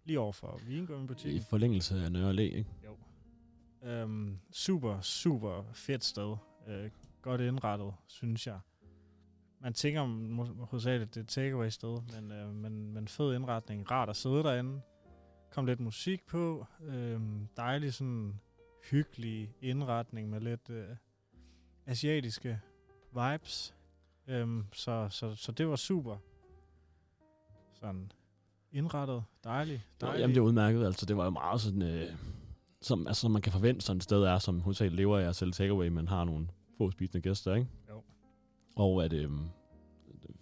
H: Lige over for
G: I
H: Vingummi-butikken.
G: forlængelse af Nørre Læ, ikke?
H: Øhm, super, super fedt sted. Øh, godt indrettet, synes jeg. Man tænker må- hovedsageligt, det er et takeaway sted, men, øh, men, men fed indretning. Rart at sidde derinde. Kom lidt musik på. Øhm, dejlig sådan hyggelig indretning med lidt øh, asiatiske vibes. Øhm, så, så, så det var super. Sådan indrettet. Dejlig.
G: Nå,
H: dejlig.
G: jamen, det er udmærket. Altså, det var jo meget sådan... Øh, som, altså, som man kan forvente, sådan et sted er, som hovedsageligt lever af at sælge takeaway, men har nogle få spisende gæster, ikke?
H: Jo.
G: Og at øh,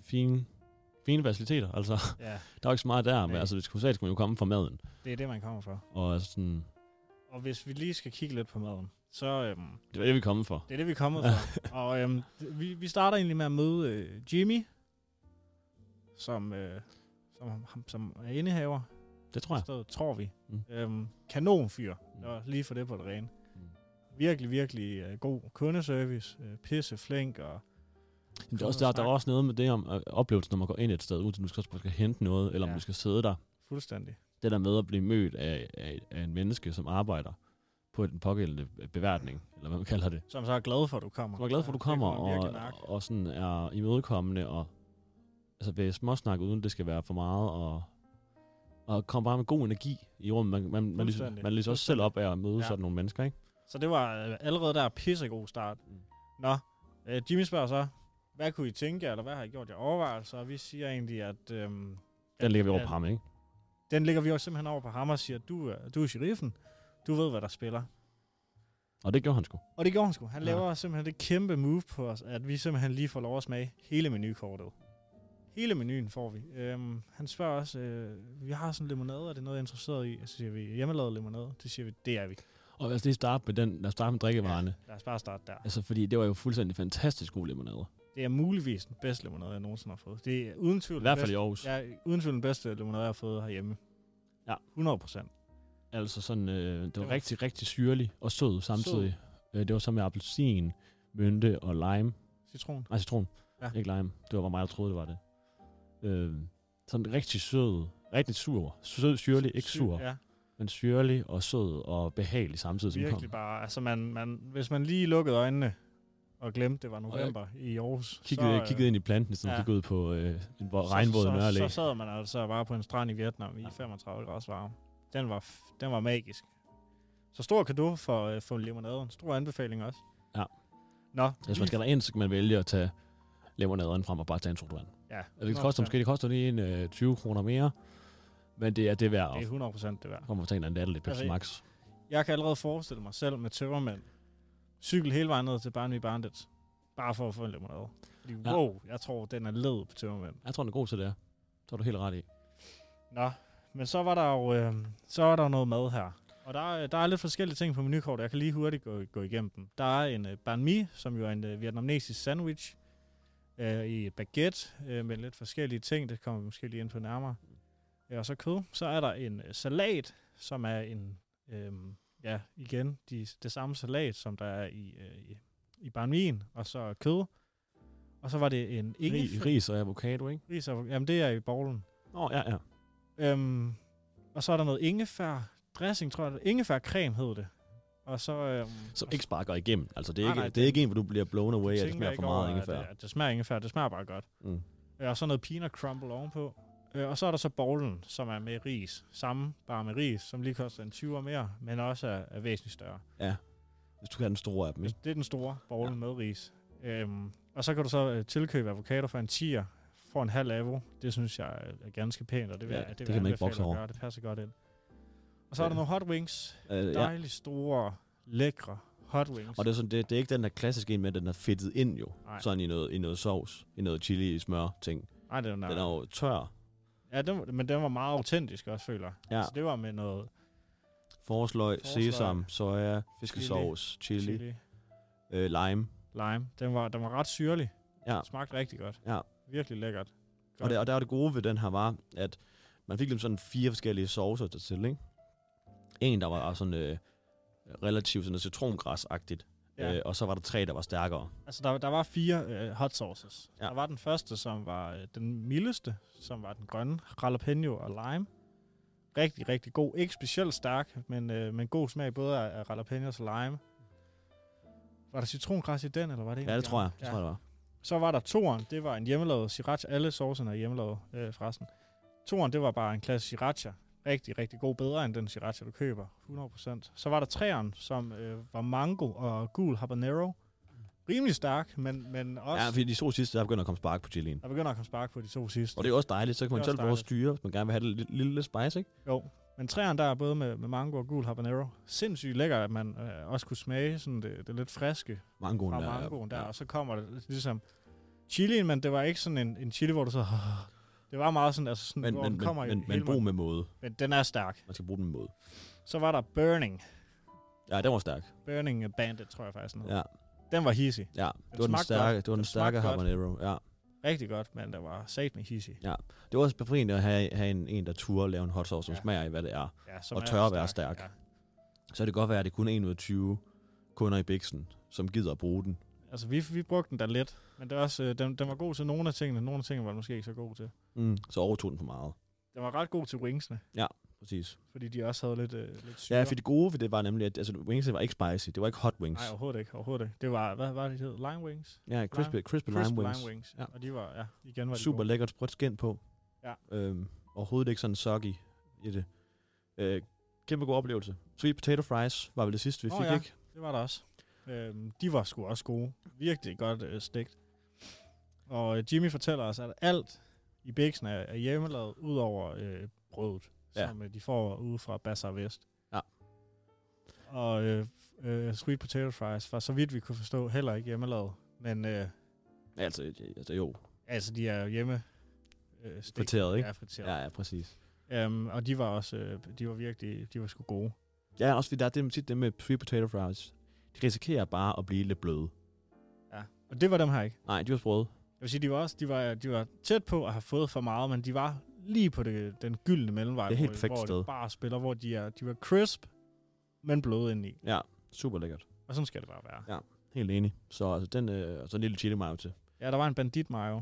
G: fine, fine faciliteter, altså.
H: ja,
G: Der er jo ikke så meget der, men
H: Nej.
G: altså, hvis hovedsageligt skulle man jo komme fra maden.
H: det er det, man kommer for.
G: Og altså, sådan,
H: Og hvis vi lige skal kigge lidt på maden, så øhm,
G: det var det, vi kom for.
H: det er det, vi er kommet
G: (laughs)
H: fra. og øhm, d- vi, vi starter egentlig med at møde øh, Jimmy, som, øh, som, ham- som er indehaver.
G: Det tror jeg.
H: Stedet, tror vi.
G: Mm.
H: Mm. Øhm, kanonfyr.
G: Mm.
H: Mm. Og lige for det på det rene.
G: Mm.
H: Mm. virkelig, virkelig øh, god kundeservice, øh, pisse flink og...
G: Men det er også, der, der er også noget med det om øh, oplevelsen, når man går ind et sted, uden at du skal, skal hente noget, eller ja.
H: Ja.
G: om du skal sidde der.
H: Fuldstændig.
G: Det der med at blive mødt af, af, af en menneske, som arbejder på den pågældende øh, beværtning, eller hvad man kalder det.
H: Som så er glad for, at du kommer.
G: Som er glad for, at du
H: Ja, det kan
G: kommer,
H: man virkelig
G: og,
H: mærke.
G: og sådan er imødekommende, og altså ved småsnak, uden det skal være for meget, og, og kom bare med god energi i rummet. Man, man, man, lyser,
H: Fuldstændig.
G: man lyser også selv op af at møde
H: Ja.
G: ja. sådan nogle mennesker, ikke?
H: Så det var øh, allerede der pissegod start. Nå, øh, Jimmy spørger så, hvad kunne I tænke jer, eller hvad har I gjort jer overvejelser? Og vi siger egentlig, at... Øhm,
G: Den ligger vi over
H: at-
G: på ham, ikke?
H: Den ligger vi jo simpelthen over på ham og siger, du, er- du er sheriffen, du ved, hvad der spiller.
G: Og det gjorde han sgu.
H: Og det gjorde han sgu. Han
G: Ja.
H: laver simpelthen det kæmpe move på os, at vi simpelthen lige får lov at smage hele menukortet. Hele menuen får vi. Øhm, han spørger også, øh, vi har sådan en limonade, er det noget, jeg er interesseret i? Og så siger vi, hjemmelavet limonade? Det siger vi, det er vi.
G: Og lad os lige starte med, den, lad os starte med drikkevarerne. Ja.
H: Lad os bare starte der.
G: Altså, fordi det var jo fuldstændig fantastisk god limonade.
H: Det er muligvis den bedste limonade, jeg nogensinde har fået. Det er uden tvivl
G: I hvert
H: den
G: fald i Aarhus.
H: bedste, ja, uden tvivl den bedste limonade, jeg har fået herhjemme.
G: Ja.
H: 100 procent.
G: Altså sådan, øh, det var
H: var-
G: rigtig, rigtig syrlig og sød samtidig. Øh, det var så med appelsin, mynte og lime.
H: Citron.
G: Nej, citron.
H: Ja.
G: Ja. Ikke lime. Det var mig, der troede, det var det. Øh, sådan rigtig sød, rigtig sur. Sød, syrlig, ikke
H: Syg-
G: sur. Ja.
H: Ja,
G: Men syrlig og sød og behagelig samtidig, som
H: virkelig
G: kom.
H: bare. Altså, man, man, hvis man lige lukkede øjnene og glemte, det var
G: jeg
H: november i Aarhus.
G: Kiggede,
H: øh,
G: kiggede ind i planten, som
H: ja.
G: ja. kiggede ud på øh, en
H: så-
G: regnvåd
H: så,
G: Nørre Allé.
H: så, sad man altså bare på en strand i Vietnam i
G: Ja.
H: 35 grader varme. Den var, f- den var magisk. Så stor kado for, øh, for limonaden. Stor anbefaling også.
G: Ja.
H: Nå,
G: Hvis man skal derind, så kan man vælge at tage limonaderen frem og bare tage en sodavand. Altså,
H: ja,
G: Det koster
H: 100%.
G: måske det koster lige en øh, 20 kroner mere, men det er det værd.
H: Det
G: Og
H: er 100 det værd.
G: kommer til en anden lidt Pepsi
H: Altså,
G: Max.
H: Jeg kan allerede forestille mig selv med tømmermænd. Cykel hele vejen ned til Barnby Bandits. Bare for at få en limonade. Fordi,
G: Ja.
H: wow, jeg tror, den er led på tømmermænd.
G: Jeg tror, den er god til det. Så er du helt ret i.
H: Nå, men så var der jo øh, så var der jo noget mad her. Og der, er- der er lidt forskellige ting på menukortet. Jeg kan lige hurtigt gå, gå igennem dem. Der er en øh, banh mi, som jo er en øh, vietnamesisk sandwich øh, i et baguette øh, med lidt forskellige ting. Det kommer vi måske lige ind på nærmere. Ja, og så kød. Så er der en øh, salat, som er en, øh, ja, igen, de, det samme salat, som der er i, øh, i, i banh mi'en, og så kød. Og så var det en
G: Rig,
H: ingefær.
G: ris og avocado, ikke?
H: Ris. og- Jamen, det er i bowlen.
G: Åh, oh, ja, ja.
H: Øhm, og så er der noget ingefær dressing, tror jeg. Ingefærcreme hed det. Og så... Øhm,
G: Som
H: og
G: ikke
H: så
G: sparker igennem. Altså, det er,
H: Nej,
G: ikke,
H: nej,
G: det er ikke en, hvor du bliver blown away, at det
H: tænker jeg
G: smager
H: ikke
G: for meget
H: over, at
G: ingefær.
H: Det, at det smager ingefær, det smager bare godt.
G: Mm.
H: Øh, og så noget peanut crumble ovenpå. Øh, og så er der så bowlen, som er med ris. Samme, bare med ris, som lige koster en 20'er mere, men også er, er væsentligt større.
G: Hvis du kan have den store af dem,
H: Hvis
G: ikke?
H: Det er den store bowlen ja. med ris. Øhm, og så kan du så øh, tilkøbe avocado for en 10'er, for en halv avo. Det synes jeg er- er ganske pænt, og det vil,
G: Ja,
H: ja, det,
G: det
H: det
G: kan
H: vil
G: man
H: jeg
G: ikke
H: anbefale
G: bokse
H: at
G: over.
H: gøre. Det passer godt ind. Og så er
G: Ja.
H: der nogle hot wings,
G: Øh, ja.
H: dejligt store, lækre hot wings.
G: Og det er, sådan, det, det er ikke den der klassiske en med, at den er fedtet ind jo.
H: Nej.
G: Nej. Sådan i noget, i noget sovs, i noget chili, i smør, ting.
H: Ej, det var
G: Den er jo tør.
H: ja, den, var- men den var meget autentisk også, føler jeg.
G: Ja.
H: Så det var med noget
G: Forsløg,
H: Altså, Forsløg,
G: sesam, soja, fiskesovs, chili, chili.
H: chili,
G: Øh, lime.
H: lime. Den var, den var ret syrlig.
G: Ja.
H: Smagte rigtig godt.
G: Ja.
H: Virkelig lækkert.
G: Og, det, og der var det gode ved den her var, at man fik ligesom sådan fire forskellige saucer til til, ikke? En, der var sådan øh, relativt sådan noget citrongræsagtigt,
H: Ja.
G: ja. øh, og så var der tre, der var stærkere.
H: Altså, der, der var fire øh, hot sauces. Ja.
G: Ja.
H: Der var den første, som var øh, den mildeste, som var den grønne, jalapeno og lime. Rigtig, rigtig god. Ikke specielt stærk, men, øh, men god smag både af, af jalapeno og lime. Var der citrongræs i den, eller var det en
G: Ja,
H: af
G: det
H: de
G: tror jeg.
H: andre?
G: Det tror jeg, det var.
H: Så var der toren, det var en hjemmelavet sriracha. Alle sovserne er hjemmelavet øh, forresten. Toren, det var bare en klasse sriracha. Rigtig, rigtig god. Bedre end den sriracha, du køber. 100%. Så var der træeren, som øh, var mango og gul habanero. Rimelig stærk, men, men også...
G: Ja,
H: Ja,
G: fordi de to sidste, der begynder at komme spark på chilien.
H: Der begynder at komme spark på de to sidste.
G: Og det er også dejligt, så kan man
H: Det er
G: selv
H: også
G: prøve at
H: dejligt.
G: styre, hvis man gerne vil have det lille, lille spice, ikke?
H: Jo, men træerne der er både med, med mango og gul habanero. Sindssygt lækker, at man øh, også kunne smage sådan det, det lidt friske
G: Mangoen
H: fra
G: der. er-
H: mangoen der, og så kommer det ligesom chilien, men det var ikke sådan en, en chili, hvor du så... (laughs) Det var meget sådan, altså sådan,
G: Men,
H: hvor
G: men,
H: den
G: men,
H: kommer i
G: men, men
H: hele
G: brug med måde.
H: Men den er stærk.
G: Man skal bruge den med måde.
H: Så var der Burning.
G: Ja, den var stærk.
H: Burning Bandit, tror jeg faktisk. Den, ja.
G: Ja,
H: den var hissig.
G: ja. Det var den
H: smagte
G: stærke,
H: godt.
G: det var den
H: Den
G: stærke
H: smagte godt.
G: habanero. Ja.
H: Rigtig godt, men der var sat med hissig.
G: Det var også befriende at have, have en, en, der turde lave en hot sauce, som
H: Ja.
G: smager i, hvad det er.
H: Ja, som
G: Og
H: er
G: tør at være
H: stærk,
G: stærk. så kan det godt være, at det kun er 1 ud af 20 kunder i Bixen, som gider at bruge den.
H: Altså, vi, vi brugte den da lidt, men det var også, øh, den, den var god til nogle af tingene, nogle af tingene var den måske ikke så god til.
G: Mm. Så overtog den for meget.
H: Den var ret god til wingsene,
G: Præcis.
H: fordi de også havde lidt, øh, lidt syre.
G: Ja, for det gode ved det var nemlig, at altså, wings var ikke spicy. Det var ikke hot wings.
H: Nej, overhovedet ikke, overhovedet ikke. Det var, hvad var det, de hed? Lime wings?
G: Ja, crispy, crispy,
H: Crisp
G: lime wings.
H: Lime wings.
G: Ja.
H: Ja. Og de var, ja, igen var de
G: Super
H: gode.
G: lækkert sprødt skin på.
H: Ja.
G: Øhm, overhovedet ikke sådan soggy i det. Øh, kæmpe god oplevelse. Sweet potato fries var vel det sidste, vi
H: Nå
G: fik,
H: ja.
G: ikke?
H: Det var der også. Øhm, de var sgu også gode. Virkelig godt øh, stegt. Og øh, Jimmy fortæller os, at alt i bæksen er, er hjemmelavet, ud over øh, brødet,
G: Ja.
H: ja. som øh, de får ude fra Bazaar Vest.
G: Ja.
H: Og øh, øh, sweet potato fries var, så vidt vi kunne forstå, heller ikke hjemmelavet. Men øh,
G: Altså, ja, altså jo,
H: altså, de er hjemme... Øh, stegt.
G: friteret, ikke?
H: Ja, friteret.
G: Ja, ja, præcis.
H: Ja. Øhm, og de var også, øh, de var virkelig, de var sgu gode.
G: Ja, også fordi der er det, tit det med sweet potato fries. De risikerer bare at blive lidt bløde.
H: Ja. Og det var dem her ikke.
G: Nej, de var sprøde.
H: Jeg vil sige, de var, også, de var, de var tæt på at have fået for meget, men de var lige på det, den gyldne mellemvej,
G: Det er helt
H: hvor,
G: perfekt
H: hvor
G: sted.
H: det bare spiller, hvor de, er, de var crisp, men bløde indeni.
G: Ja, super lækkert.
H: Og sådan skal det bare være.
G: Ja. Helt enig. Så altså, den, øh, og så en lille chili mayo til.
H: Ja, der var en bandit mayo,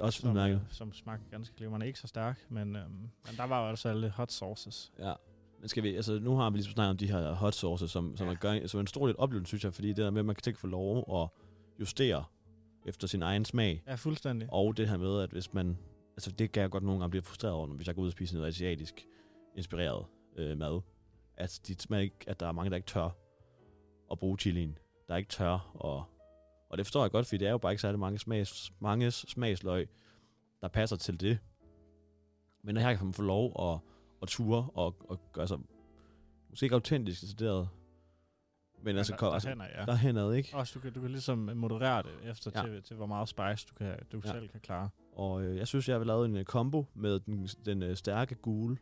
G: Også
H: som,
G: udmærket.
H: øh, som smagte ganske glimrende. Ikke så stærk, men, øhm, men der var også alle hot sauces.
G: Ja. Men skal vi, altså, nu har vi ligesom snakket om de her hot sauces, som, som, ja.
H: Ja.
G: er, gør, som er en stor del oplevelse, synes jeg, fordi det der med, at man kan tænke for lov at justere efter sin egen smag.
H: Ja, fuldstændig.
G: Og det her med, at hvis man... Altså, det kan jeg godt nogle gange blive frustreret over, hvis jeg går ud og spiser noget asiatisk inspireret øh, mad. At, de smager ikke, at der er mange, der ikke tør at bruge chilien. Der er ikke tør. Og, og det forstår jeg godt, fordi det er jo bare ikke særlig mange smags, mange smagsløg, der passer til det. Men når her kan man få lov at, at ture og, og gøre sig måske ikke autentisk decideret, men altså,
H: der,
G: kom,
H: der,
G: altså
H: hænder, ja.
G: der henad, ikke?
H: Også du kan, du kan ligesom moderere det efter
G: Ja.
H: ja. til, til, hvor meget spice du, kan, du
G: Ja.
H: ja. selv kan klare.
G: Og øh, jeg synes, jeg har lavet en øh, combo med den, den øh, stærke gule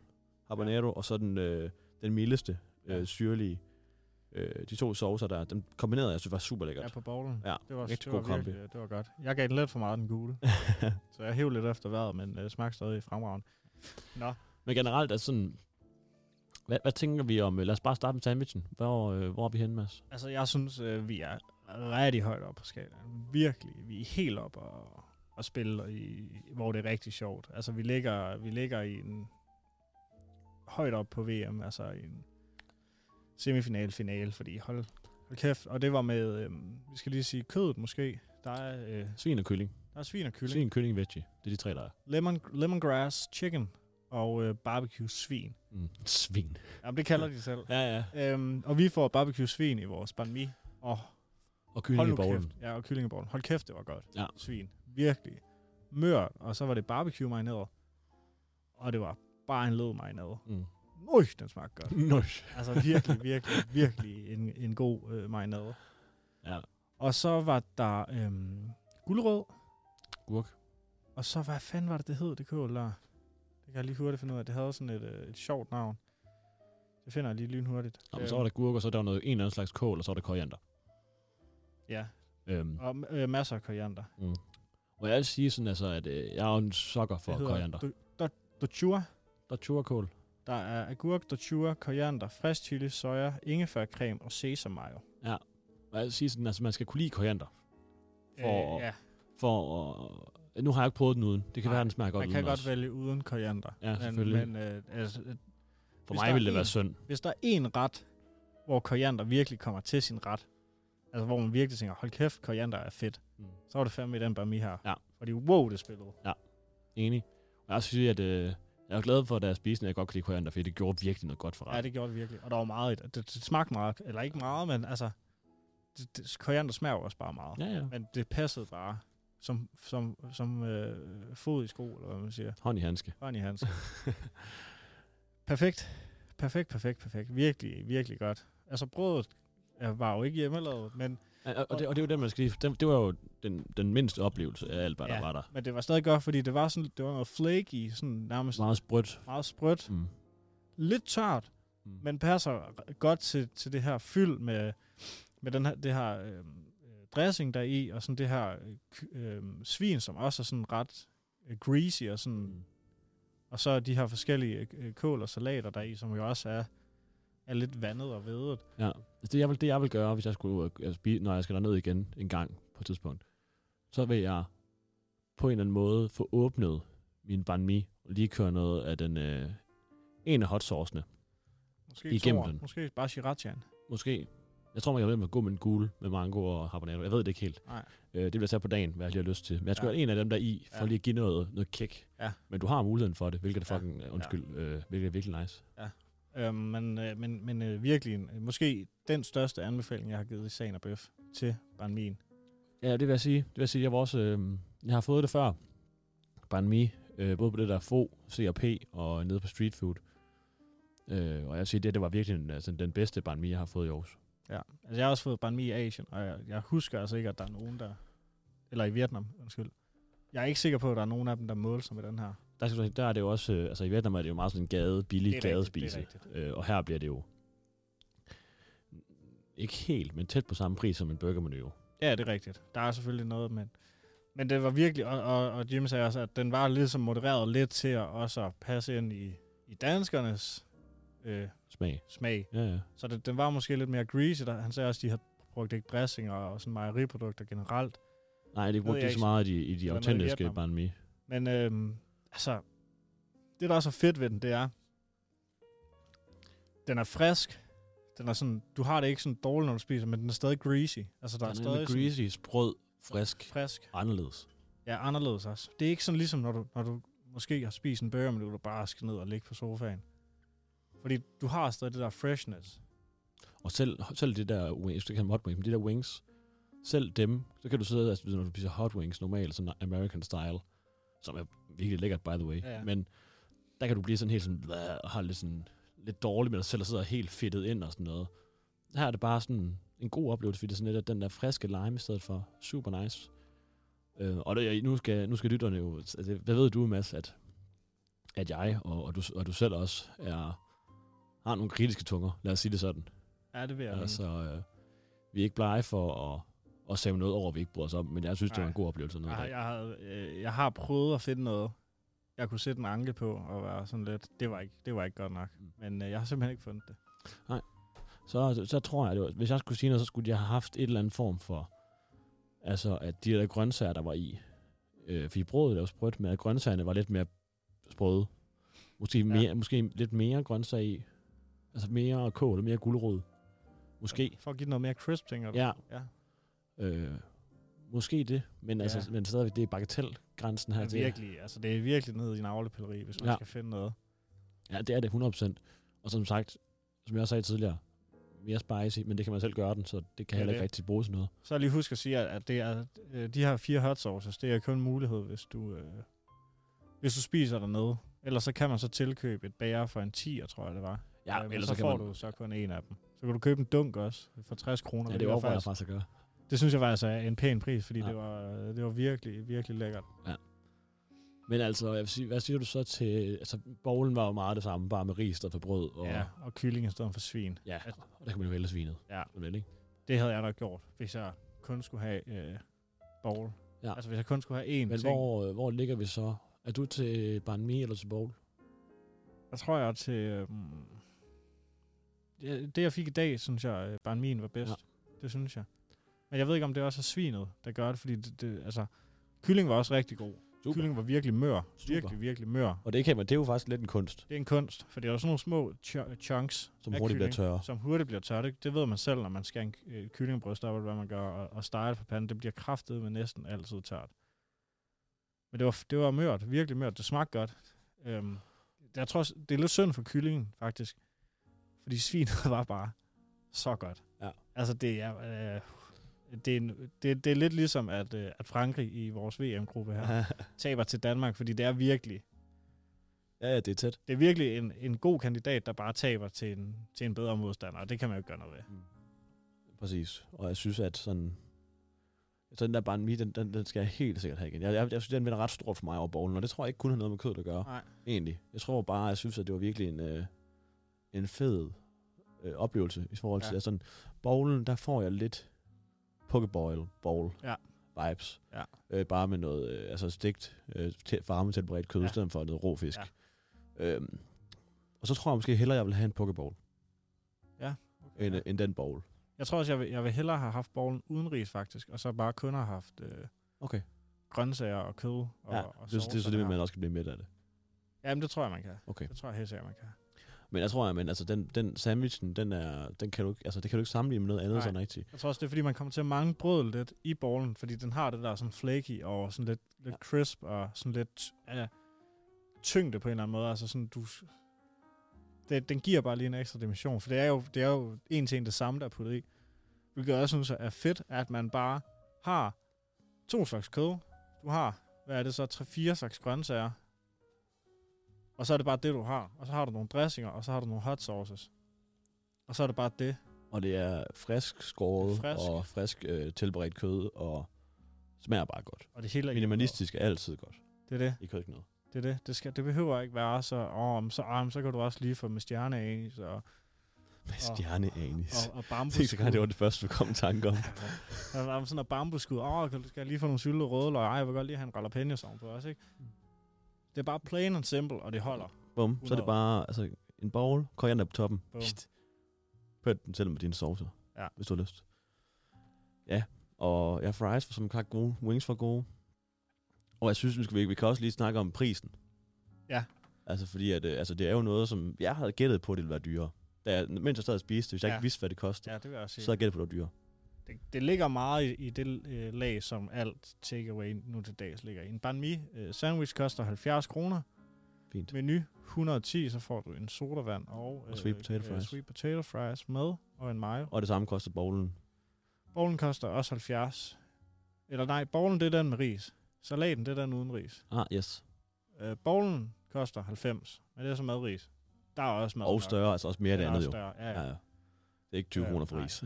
G: habanero, ja. og så den, øh, den mildeste
H: Ja.
G: øh, syrlige. Øh, de to saucer der, dem kombinerede jeg, synes var super
H: Ja,
G: lækkert.
H: på bowlen.
G: Ja,
H: Det var,
G: rigtig
H: det var,
G: god kombi.
H: virkelig, det var godt. Jeg gav den lidt for meget, den
G: (laughs)
H: gule. Så jeg hæv lidt efter vejret, men øh, smagte stadig fremragende.
G: Men generelt er sådan, hvad, hvad tænker vi om, øh, lad os bare starte med sandwichen. Hvor, øh, hvor er vi henne, Mads?
H: Altså, jeg synes, øh, vi er rigtig højt op på skalaen. Virkelig. Vi er helt op og, og spille, i, hvor det er rigtig sjovt. Altså, vi ligger, vi ligger i en, højt op på VM, altså i en semifinal, finale, fordi hold, hold kæft. Og det var med, øh, vi skal lige sige, kødet måske. Der er, øh,
G: Svin og kylling.
H: der er svin og
G: kylling.
H: kylling.
G: Svin, kylling, veggie. Det er de tre, der er.
H: Lemon, lemongrass, chicken og øh, barbecue svin.
G: Mm. Svin.
H: Jamen, det kalder de selv.
G: Ja, ja.
H: Øhm, og vi får barbecue svin i vores banh mi. Og
G: Og
H: hold
G: kylling i
H: nu
G: bowlen.
H: kæft. Ja, og kyllingeborgen. Hold kæft, det var godt.
G: Ja.
H: Svin. Virkelig. Mør, og så var det barbecue marineret. Og det var bare en lød marineret.
G: (laughs) Mm.
H: Nøj, den smagte godt.
G: Nøj.
H: Altså virkelig, virkelig, virkelig en, en god øh, marinade.
G: Ja.
H: Og så var der øhm, guldrød,
G: Gurk.
H: og så hvad fanden var det, det hed, det kål der? Det kan jeg lige hurtigt finde ud af. Det havde sådan et, øh, et sjovt navn. Det finder jeg lige lynhurtigt.
G: Nå, men så var der gurk, og så var der noget, en eller anden slags kål, og så var der koriander.
H: Ja,
G: Øhm,
H: og øh, masser af koriander.
G: og jeg vil sige sådan, altså, at øh, jeg er jo en sokker for
H: Det hedder
G: koriander.
H: do- do- Dochua.
G: Der er turkål.
H: Der er agurk, dochua, koriander, frisk chili, soja, ingefærcreme og sesammayo.
G: Og jeg vil sige sådan, altså, man skal kunne lide koriander. For-
H: Øh, ja,
G: For at, nu har jeg ikke prøvet den uden. Det kan
H: Nej,
G: være, den smager godt
H: man
G: uden
H: kan godt
G: også.
H: vælge uden koriander.
G: Ja,
H: men,
G: selvfølgelig.
H: men øh, altså, øh,
G: For
H: hvis
G: mig
H: der er
G: ville det være
H: en-
G: synd.
H: hvis der er en ret, hvor koriander virkelig kommer til sin ret, altså hvor man virkelig tænker, hold kæft, koriander er fedt,
G: Mm.
H: mm. så var det fandme i den bami her.
G: Ja.
H: Fordi wow, det spillede.
G: Enig. Og jeg synes, at øh, jeg er glad for, at jeg spiste, at jeg godt kan lide koriander, fordi det gjorde virkelig noget godt for
H: Ja,
G: retten.
H: det gjorde det virkelig. Og der var meget i det. Det, det smagte meget, eller ikke meget, men altså, det, det, koriander smager jo også bare meget.
G: Ja, ja.
H: Men det passede bare som, som, som øh, fod i sko, eller hvad man siger.
G: Hånd i handske.
H: Hånd i
G: (laughs)
H: hans. perfekt. Perfekt, perfekt, perfekt. Virkelig, virkelig godt. Altså brødet er- var jo ikke hjemmelavet, men,
G: Ja, Og, og, det, og det er jo det, man skal lige... Det, det var jo den, den mindste oplevelse af alt, hvad der
H: Ja.
G: var der.
H: men det var stadig godt, fordi det var, sådan, det var noget flaky, sådan nærmest
G: Meget sprødt.
H: meget sprødt.
G: Mm.
H: Lidt tørt,
G: Mm.
H: men passer godt til, til det her fyld med, med den her, det her øh, øh, dressing, der er i, og sådan det her øh, ky- øh, svin, som også er sådan ret øh, greasy, og sådan
G: Mm.
H: Og så de øh, her forskellige øh, kål og salater der er i, som jo også er, er lidt vandet og vedet.
G: Ja, Altså det, jeg vil, det, jeg vil gøre, hvis jeg skulle ud og altså, bi- når jeg skal derned igen en gang på et tidspunkt, så vil jeg på en eller anden måde få åbnet min banh mi, og lige køre noget af den øh, en af hot saucene.
H: Måske
G: Igennem
H: toer.
G: den.
H: Måske bare Shirachian.
G: Måske. Jeg tror, man kan være med at gå med en gul med mango og habanero. Jeg ved det ikke helt.
H: Nej.
G: Øh, det vil jeg tage på dagen, hvad jeg lige har lyst til. Men jeg skal
H: Ja.
G: ja. en af dem der i, for
H: Ja.
G: ja. lige at give noget, noget kick.
H: Ja.
G: Men du har muligheden for det, hvilket er
H: Ja.
G: fucking, ja. undskyld, øh, hvilket er virkelig nice.
H: Øhm, men øh, men, men øh, virkelig, en- øh, måske den største anbefaling, jeg har givet i Sagen og Bøf til Banh Min.
G: Ja, det vil jeg sige. Det vil jeg sige, jeg, var også, øh, jeg har fået det før. Banh mi, øh, både på det der FO, C&P og nede på street food. Øh, og jeg siger, det, det var virkelig en, altså, den bedste banh mi, jeg har fået i Aarhus.
H: Ja. Altså, jeg har også fået Banh Mi i Asien, og jeg, jeg husker altså ikke, at der er nogen, der... Eller i Vietnam, undskyld. Jeg er ikke sikker på, at der er nogen af dem, der måler sig med den her.
G: Der, skal, du- der er det jo også, øh, altså i Vietnam er det jo meget sådan en gade, billig
H: Det er rigtigt, det er
G: gadespise. Øh, og her bliver det jo ikke helt, men tæt på samme pris som en burgermenu. jo.
H: Ja, det er rigtigt. Der er selvfølgelig noget, men... Men det var virkelig... Og, og, og Jim sagde også, at den var ligesom modereret lidt til at også at passe ind i, i danskernes øh,
G: Smag.
H: smag.
G: Ja, ja.
H: Så det, den var måske lidt mere greasy. Der, han sagde også, at de havde brugt ikke dressing og, og sådan mejeriprodukter generelt.
G: Nej, det
H: Ved jeg
G: brugte ikke
H: ikke.
G: så meget i, de- i
H: Det
G: de
H: var noget i
G: autentiske
H: Vietnam.
G: banh mi.
H: Men øhm, altså, det der også er fedt ved den, det er, den er frisk. Den er sådan, du har det ikke sådan dårligt, når du spiser, men den er stadig greasy. Altså, der
G: Den
H: er
G: er
H: stadig
G: nemlig
H: sådan
G: greasy, sprød, frisk,
H: frisk.
G: anderledes.
H: Ja, anderledes også. Det er ikke sådan ligesom, når du, når du måske har spist en burger, men du er bare skal ned og ligge på sofaen. Fordi du har stadig det der freshness.
G: Og selv, selv det der wings, det kan hot wings, men de der wings, selv dem, så kan du sidde, altså, når du spiser hot wings normalt, sådan American style, som er virkelig lækkert, by the way.
H: Ja, ja.
G: Men der kan du blive sådan helt sådan, "Blæh", og har lidt sådan, lidt dårligt med dig selv, og sidder helt fedtet ind og sådan noget. Her er det bare sådan en god oplevelse, fordi det er sådan lidt af den der friske lime i stedet for. Super nice. Øh, og det, nu, skal, nu skal lytterne jo... Altså, det- hvad ved du, Mads, at, at jeg og, og, du, og du selv også er, har nogle kritiske tunger, lad os sige det sådan.
H: Ja, det vil jeg.
G: Ja,
H: mene.
G: altså, øh, vi er ikke blege for at, at save noget over, vi ikke bryder os om, men jeg synes, det var
H: Nej.
G: en god oplevelse.
H: Jeg,
G: Noget
H: har-
G: ja, ja.
H: jeg, har, øh, jeg har prøvet at finde noget, jeg kunne sætte en anke på og være sådan lidt, det var ikke, det var ikke godt nok.
G: Mm.
H: Men øh, jeg har simpelthen ikke fundet det.
G: så, så tror jeg, det var, hvis jeg skulle sige noget, så skulle jeg have haft et eller andet form for, altså at de der grøntsager, der var i, øh, fordi brødet er jo sprødt, men at grøntsagerne var lidt mere sprøde. Måske, mere, måske lidt mere grøntsager i. Altså mere kål og mere gulerod. Måske.
H: For at give det noget mere crisp, tænker du?
G: Ja.
H: ja.
G: Øh, måske det, men, ja. altså,
H: Ja.
G: men stadigvæk, det er bagatelgrænsen her.
H: Men
G: det er-
H: virkelig, altså det er virkelig ned i navlepilleri, hvis man ja.
G: Ja.
H: skal finde noget.
G: Ja, det er det 100%. Og som sagt, som jeg også sagde tidligere, mere spicy, men det kan man selv gøre den, så det kan
H: Ja,
G: heller
H: det.
G: ikke rigtig bruges til noget.
H: Så lige husk at sige, at- at det er, øh, de her fire hot sauces, det er kun en mulighed, hvis du, øh, hvis du spiser dernede. Ellers så kan man så tilkøbe et bager for en 10, tror jeg det var. Øh,
G: Ja,
H: men
G: ellers
H: så,
G: så kan
H: får
G: man-
H: du så kun en af dem. Så kan du købe en dunk også for 60 kroner.
G: Ja, det
H: hvilket er
G: overvejer jeg
H: faktisk-
G: faktisk at gøre.
H: Det synes jeg faktisk er en pæn pris, fordi ja.
G: Ja.
H: det, var, det var virkelig, virkelig lækkert.
G: Men altså, jeg vil sige, hvad siger du så til... Altså, bowlen var jo meget det samme, bare med ris, der for brød. Og,
H: Ja, og kylling i stedet for svin.
G: ja. Og der kan man jo vælge svinet.
H: Ja.
G: Vel, ikke?
H: Det havde jeg nok gjort, hvis jeg kun skulle have øh, bowl. Ja.
G: Ja.
H: Altså hvis jeg kun skulle have én
G: Men
H: ting.
G: hvor, øh, hvor ligger vi så? Er du til banh mi eller til bowl?
H: Jeg tror, jeg er til... Øh, det, det, jeg fik i dag, synes jeg, øh, bare min var bedst. Ja. Det synes jeg. Men jeg ved ikke, om det også er svinet, der gør det, fordi det, det altså, kylling var også rigtig god. Super. Kylling var virkelig mør. Super.
G: Super.
H: Virkelig, virkelig mør.
G: Og det kan man, det er jo faktisk lidt en kunst,
H: Det er en kunst, for det er jo sådan nogle små ch- chunks
G: som
H: af
G: hurtigt bliver
H: kylling,
G: tørre.
H: Som hurtigt bliver tørre. Det, det ved man selv, når man skal en k- øh, kyllingebryst op, eller hvad man gør, og, og steger det på panden. Det bliver kraftet med næsten altid tørt. Men det var, det var mørt, virkelig mørt. Det smagte godt. Øhm, jeg tror, også, det er lidt synd for kyllingen, faktisk. Fordi svinet (laughs) var bare så godt.
G: Ja.
H: Altså, det er... Øh, det er, en, det, det er lidt ligesom, at, øh, at Frankrig i vores VM-gruppe her
G: Ja.
H: taber til Danmark, fordi det er virkelig
G: (laughs) ja, ja, det er tæt.
H: det er virkelig en, en god kandidat, der bare taber til en, til en bedre modstander, og det kan man jo ikke gøre noget ved.
G: Mm. Præcis. Og jeg synes, at sådan... Så den der banh mi, den, den, den skal jeg helt sikkert have igen. Jeg, jeg, jeg synes, den vinder ret stor for mig over bowlen, og det tror jeg ikke kun har noget med kødet at gøre.
H: Nej.
G: egentlig. Jeg tror bare, jeg synes, at det var virkelig en, øh, en fed øh, oplevelse i forhold til
H: Ja.
G: ja. sådan, bowlen, der får jeg lidt pokeball bowl
H: Ja.
G: vibes.
H: Ja.
G: Øh, bare med noget øh, altså stegt, øh, tæ- varmetilberedt kød,
H: Ja.
G: ja. i stedet for noget rå fisk. Ja. Øhm, og så tror jeg måske hellere, jeg vil have en pokeball,
H: Ja.
G: end, øh, end den bowl.
H: Jeg tror også, jeg vil, jeg vil hellere have haft borgen udenrigs, faktisk, og så bare kun have haft øh,
G: Okay.
H: grøntsager og kød. Og,
G: Ja,
H: og
G: det, det, det er så
H: sovser
G: det, med, at
H: her.
G: man også kan blive med af det.
H: Jamen, det tror jeg, man kan.
G: Okay.
H: Det tror jeg helt sikkert, man kan.
G: Men jeg tror, at men, altså, den, den sandwichen, den er, den kan du, ikke- altså, det kan du ikke sammenligne med noget andet
H: Nej.
G: sådan rigtigt.
H: Jeg tror også, det er, fordi man kommer til at mangle brødet lidt i bollen, fordi den har det der sådan flaky og sådan lidt, lidt
G: Ja.
H: crisp og sådan lidt ja, tyngde på en eller anden måde. Altså sådan, du... Det, den giver bare lige en ekstra dimension, for det er jo, det er jo en til en det samme, der er puttet i. Hvilket jeg også synes er fedt, at man bare har to slags kød. Du har, hvad er det så, tre-fire slags grøntsager. Og så er det bare det, du har. Og så har du nogle dressinger, og så har du nogle hot sauces. Og så er det bare det.
G: Og det er frisk skåret
H: Frisk.
G: og frisk øh, tilberedt kød, og smager bare godt.
H: Og det hele er
G: Minimalistisk er altid godt
H: Det er det.
G: i køkkenet.
H: Det er det. Det, skal, det behøver ikke være så, åh, men så, åh, men så kan du også lige få med stjerneanis og,
G: Med stjerneanis.
H: og, og
G: (laughs) Det er ikke så godt,
H: bambusskud.
G: det var det første, du kom i tanke om.
H: Der var sådan noget bambusskud. Åh, kan du skal jeg lige få nogle syltede rødløg. Ej, jeg vil godt lige have en jalapeno sammen på også, ikke?
G: Mm.
H: Det er bare plain and simple, og det holder.
G: Bum, så er det
H: 100.
G: bare altså, en bowl, koriander på toppen.
H: Bum.
G: Pst. Pøt den selv med dine saucer,
H: Ja.
G: hvis du har lyst. Ja, og ja, fries var som klart gode, wings var gode. Og jeg synes, nu skal vi, vi kan også lige snakke om prisen.
H: Ja.
G: Altså, fordi at, øh, altså, det er jo noget, som jeg havde gættet på, at det ville være dyrere. Da jeg, mens jeg stadig spiste det, hvis jeg
H: Ja.
G: ikke vidste, hvad det kostede,
H: Ja, det vil jeg også
G: så
H: sige.
G: havde jeg gættet på, at det var dyrere.
H: det, det ligger meget i, i det øh, lag, som alt takeaway nu til dags ligger i. En banh mi øh, sandwich koster 70 kroner.
G: Fint.
H: Menu 110, så får du en sodavand og, øh,
G: Og sweet potato fries.
H: sweet potato fries med og en mayo.
G: Og det samme kostede bowlen.
H: Bowlen koster også 70. Eller nej, bowlen det er den med ris. Salaten det er den uden ris.
G: Ah, yes.
H: Øh, bowlen koster 90, men det er så med ris. Der er også mad.
G: Og
H: nok.
G: større, altså også mere af
H: Den
G: det
H: er
G: andet
H: også
G: jo.
H: større, Ja,
G: Ja,
H: ja.
G: ja. Det er ikke 20
H: Ja,
G: kroner for
H: nej.
G: (laughs) ris.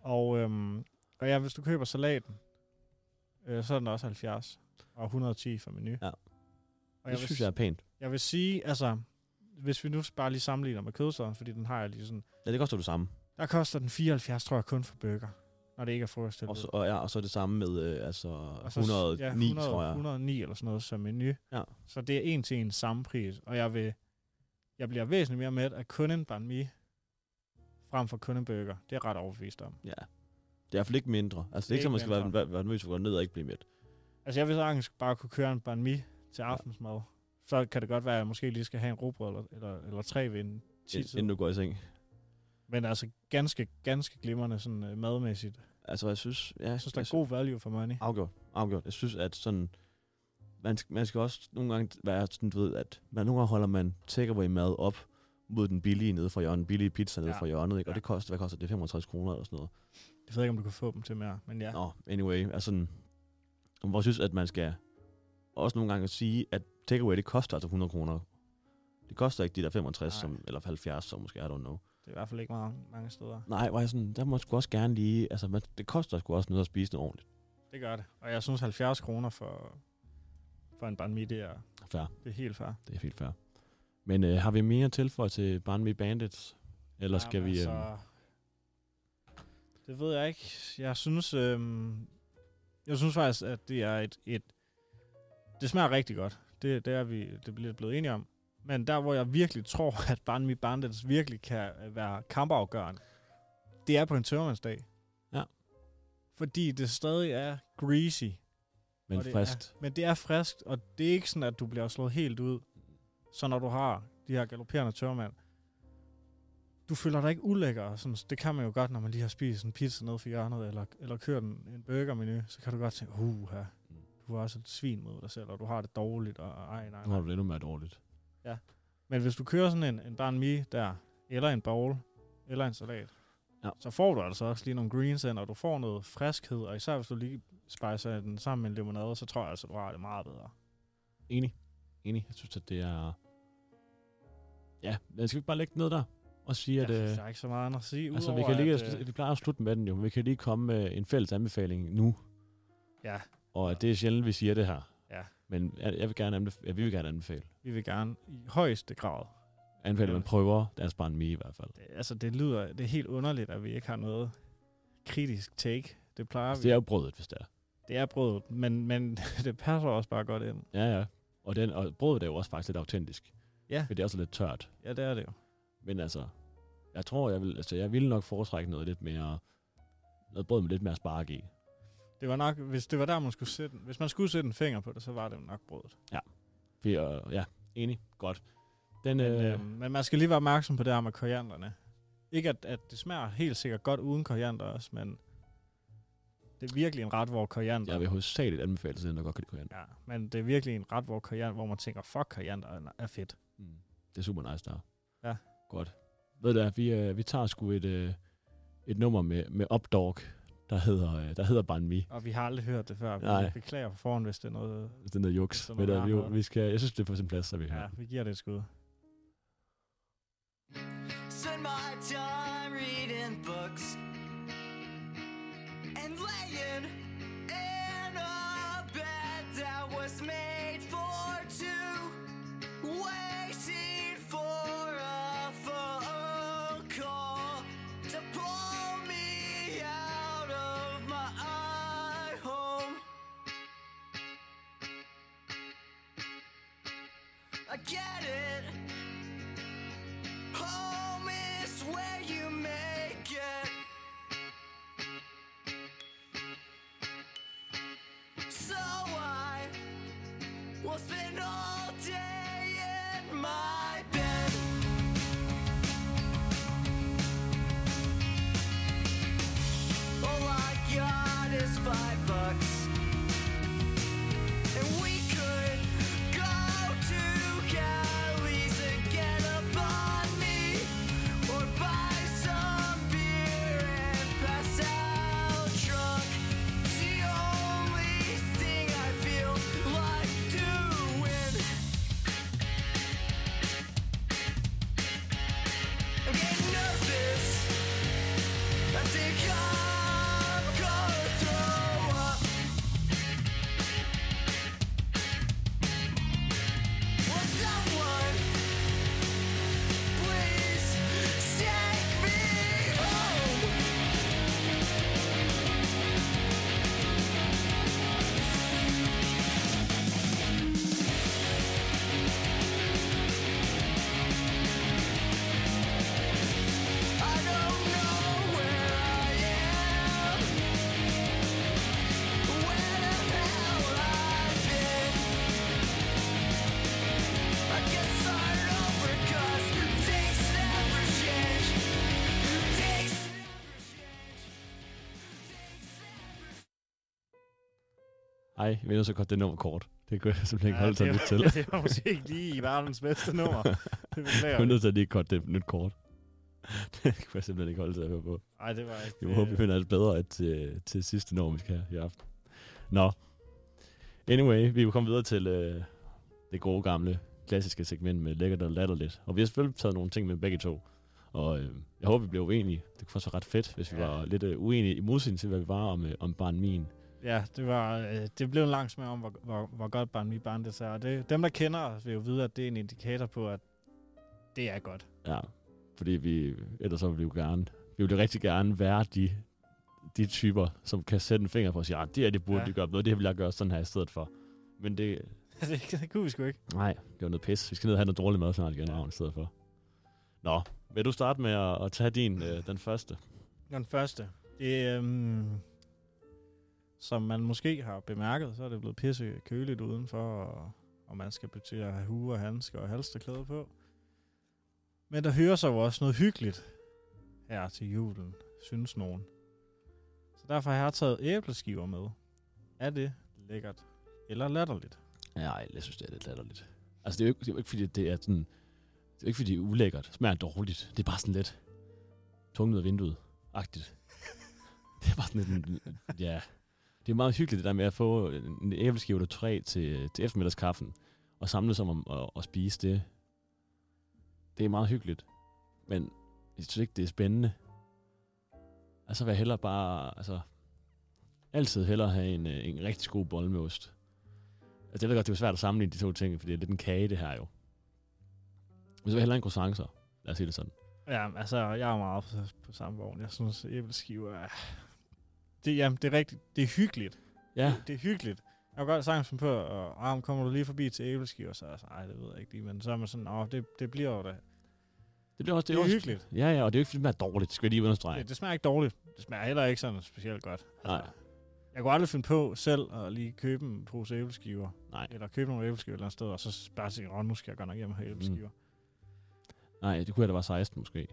H: Og, øhm, og ja, hvis du køber salaten, øh, så er den også 70 og 110 for menu.
G: Ja.
H: Og
G: det
H: jeg vil,
G: synes jeg er pænt.
H: jeg vil sige, altså, hvis vi nu bare lige sammenligner med kødstaden, fordi den har jeg lige sådan,
G: Ja, det koster det samme.
H: der koster den 74, tror jeg, kun for burger, når det ikke er frokostilbud.
G: Og så, og, ja, og så er det samme med øh, altså
H: Og så-
G: 109,
H: ja,
G: 100, tror jeg.
H: 109 eller sådan noget som menu.
G: Ja.
H: Så det er en til en samme pris, og jeg vil jeg bliver væsentligt mere med at kun en banh mi frem for kun en burger. Det er jeg ret overbevist om.
G: Ja. Det er i hvert fald ikke mindre. Altså, det er ikke, som man
H: Ikke
G: skal være,
H: mindre.
G: være, være nervøs for at gå ned og ikke blive mæt.
H: Altså jeg vil sagtens bare kunne køre en banh mi til aftensmad. Så kan det godt være, at jeg måske lige skal have en rugbrød eller, eller, eller tre ved en
G: ind-
H: 10
G: Inden du går i seng.
H: Men altså ganske, ganske glimrende sådan øh, madmæssigt.
G: Altså, jeg synes... Ja,
H: Jeg synes, der
G: jeg
H: er god value for money.
G: Afgjort. Afgjort. Jeg synes, at sådan... Man, sk- man skal også nogle gange være sådan, du ved, at man nogle gange holder man takeaway mad op mod den billige nede fra hjørnet, den billige pizza nede
H: Ja.
G: fra hjørnet, ikke? Og
H: Ja.
G: det koster, hvad koster det? 65 kroner eller sådan noget.
H: Jeg ved ikke, om du kan få dem til mere, men ja.
G: Ja. Nå, anyway, altså sådan, hvor jeg synes, at man skal også nogle gange sige, at takeaway, det koster altså 100 kroner. Det koster ikke de der 65,
H: Nej.
G: som, eller 70, som måske, I don't know.
H: Det er i hvert fald ikke meget mange steder.
G: Nej, var jeg sådan, der må jeg sgu også gerne lige, altså man, det koster sgu også noget at spise noget ordentligt.
H: Det gør det. Og jeg synes 70 kroner for, for en banh mi, det er,
G: Fair,
H: det er helt fair.
G: det er helt fair. Men øh, har vi mere at tilføje til Barn Me Bandits? Eller skal
H: Jamen,
G: vi... Øh,
H: altså, Det ved jeg ikke. Jeg synes... Øhm, jeg synes faktisk, at det er et... et det smager rigtig godt. Det, det er vi det bliver blevet enige om. Men der, hvor jeg virkelig tror, (laughs) at Barn Mi Bandits virkelig kan øh, være kampafgørende, det er på en tørmandsdag.
G: Ja.
H: Fordi det stadig er greasy.
G: men
H: og det
G: frisk.
H: Er, men det er friskt, og det er ikke sådan, at du bliver slået helt ud. Så når du har de her galopperende tørmand, du føler dig ikke ulækker. og Sådan, det kan man jo godt, når man lige har spist en pizza ned for hjørnet, eller, eller kørt en, en burgermenu, så kan du godt tænke, uh, du er også et svin mod dig selv, og du har det dårligt, og ej, nej,
G: Nu
H: nej.
G: har du det endnu mere dårligt.
H: Men hvis du kører sådan en, en banh mi der, eller en bowl, eller en salat,
G: Ja.
H: så får du altså også lige nogle greens ind, og du får noget friskhed, og især hvis du lige spicer den sammen med en limonade, så tror jeg altså, du har det meget bedre.
G: Enig. Enig. Jeg synes, at det er... Ja, men skal vi ikke bare lægge den ned der? Og sige, at...
H: Jeg
G: øh,
H: synes, der er ikke så meget andet at sige,
G: Altså,
H: udover
G: vi, kan lige,
H: at, øh,
G: vi plejer at slutte med den jo, men vi kan lige komme med en fælles anbefaling nu.
H: Ja.
G: Og at det er sjældent, vi siger det her.
H: Ja.
G: Men jeg, jeg vil gerne anbefale, ja, vi vil gerne anbefale.
H: vi vil gerne i højeste grad.
G: Anbefale, at
H: Ja.
G: man prøver deres barn mi i hvert fald.
H: Det, altså, det lyder, det er helt underligt, at vi ikke har noget kritisk take. Det plejer
G: Altså,
H: vi.
G: det er jo brødet, hvis det er.
H: Det er brødet, men, men (laughs) det passer også bare godt ind.
G: Ja, ja. Og, den, og brødet er jo også faktisk lidt autentisk.
H: Ja.
G: For det er også lidt tørt.
H: Ja, det er det jo.
G: Men altså, Jeg tror, jeg vil, altså, jeg ville nok foretrække noget lidt mere, noget brød med lidt mere spark i.
H: Det var nok, hvis det var der, man skulle sætte, hvis man skulle sætte en finger på det, så var det nok brødet.
G: Fordi, øh, ja, enig, godt. Den,
H: Men,
G: øh,
H: øh, men man skal lige være opmærksom på det her med korianderne. Ikke at, at det smager helt sikkert godt uden koriander også, men det er virkelig en ret, hvor koriander...
G: jeg vil hovedsageligt anbefale til den, der godt kan lide koriander.
H: Ja, men det er virkelig en ret, hvor koriander, hvor man tænker, fuck, koriander er- er fedt.
G: Mm. Det er super nice der.
H: Ja.
G: Godt. Ved du, hvad, vi, øh, vi tager sgu et, øh, et nummer med, med Updog, der hedder, øh, der hedder Banh Mi.
H: Og vi har aldrig hørt det før. Vi
G: Nej.
H: beklager på forhånd, hvis det er noget...
G: Det er noget
H: Hvis
G: juks.
H: der er
G: Ved du,
H: nogen,
G: hvad,
H: der har
G: vi,
H: noget.
G: vi skal, jeg synes, det er på sin plads, så vi
H: Ja,
G: hører.
H: vi giver det et skud.
K: Spend my time reading books and laying in a bed that was made for two, waiting for a phone call to pull me out of my home. I get it. Home is where you make it. So I will spend all day in my bed. All I got is five bucks. And we could go to Cali's and get a on me Or buy some beer and pass out drunk It's the only thing I feel like doing I'm getting nervous I think I'm gonna throw up Will someone please take me home? I don't know where I am, where the hell I've been. I guess I'm over 'cause things never change. Things never change.
G: Ej, jeg ved så godt, det nummer kort. Det kunne jeg simpelthen ikke ja, holde sig
H: det,
G: lidt til.
H: var, (laughs) det var måske ikke lige verdens bedste nummer. Det beklager
G: Jeg er
H: vi.
G: nødt til at lige kort det nyt kort. (laughs) det kunne jeg simpelthen ikke holde til at høre på.
H: Ej, det var øh, ikke...
G: Jeg håber, vi finder alt bedre at, til, til sidste nummer, vi skal have i aften. Nå. Anyway, vi er jo kommet videre til øh, det gode gamle klassiske segment med lækkert og latterligt. Og vi har selvfølgelig taget nogle ting med begge to. Og øh, jeg håber, vi bliver uenige. Det kunne faktisk være ret fedt, hvis vi
H: Ja.
G: var lidt øh, uenige i modsætning til, hvad vi var om, øh, om barn min.
H: Ja, det, var, øh, det blev en lang smag om, hvor, hvor, hvor godt Barn Mi Bandes er. Og det, dem, der kender os, vil jo vide, at det er en indikator på, at det er godt. (laughs)
G: Ja, fordi vi, ellers så vil vi jo gerne, vi vil jo rigtig gerne være de, de typer, som kan sætte en finger på og sige, "Ah, det er det burde
H: Ja.
G: ja. de gøre noget, det her vil jeg gøre sådan her i stedet for. Men det,
H: det, det kunne vi sgu ikke.
G: nej, det var noget pis. Vi skal ned og have noget dårlig mad snart igen, Ravn, i stedet for. Nå, vil du starte med at, at tage din, øh, den første?
H: Den første. Det, øhm, som man måske har bemærket, så er det blevet pisse køligt udenfor, og, og man skal til at have hue og handsker og halsterklæder på. Men der hører sig jo også noget hyggeligt her til julen, synes nogen. Så derfor har jeg taget æbleskiver med. Er det lækkert? Eller latterligt?
G: Nej, jeg synes, det er lidt latterligt. Altså, det er jo ikke, det er jo ikke fordi, det er sådan, det er jo ikke fordi, det er ulækkert, smager dårligt. Det er bare sådan lidt tungt ud af vinduet, agtigt. det er bare sådan lidt, en- ja. Det er meget hyggeligt, det der med at få en æbleskive eller tre til, til eftermiddagskaffen, og samle sig om at, at spise det. Det er meget hyggeligt, men jeg synes ikke, det er spændende. Altså, hvad heller bare, altså, altid hellere have en, øh, en rigtig god bolle med ost. Altså, jeg ved godt, det er jo svært at sammenligne de to ting, for det er lidt en kage, det her jo. Men så vil jeg hellere en croissant, så. Lad os sige det sådan.
H: Ja, altså, jeg er meget på, på samme vogn. Jeg synes, æbleskiver er... Det, jamen, det er rigtigt. Det er hyggeligt.
G: Ja,
H: det er hyggeligt. Jeg kan godt sagtens finde på, og ah, men kommer du lige forbi til æbleskiver, så er jeg sådan, ej, det ved jeg ikke lige, men så er man sådan, åh, det, det bliver jo det.
G: Det bliver også, det
H: Det er
G: også,
H: hyggeligt.
G: Ja, ja, og det er jo ikke, fordi det er dårligt. Det skal jeg lige understrege.
H: Det, det smager ikke dårligt. Det smager heller ikke sådan specielt godt. Altså,
G: Nej.
H: Jeg kunne aldrig finde på selv at lige købe en pose æbleskiver.
G: Nej.
H: Eller købe nogle æbleskiver et eller andet sted, og så bare sige, åh, nu skal jeg godt nok hjem og have æbleskiver. Mm.
G: Nej, det kunne jeg da være 16 måske.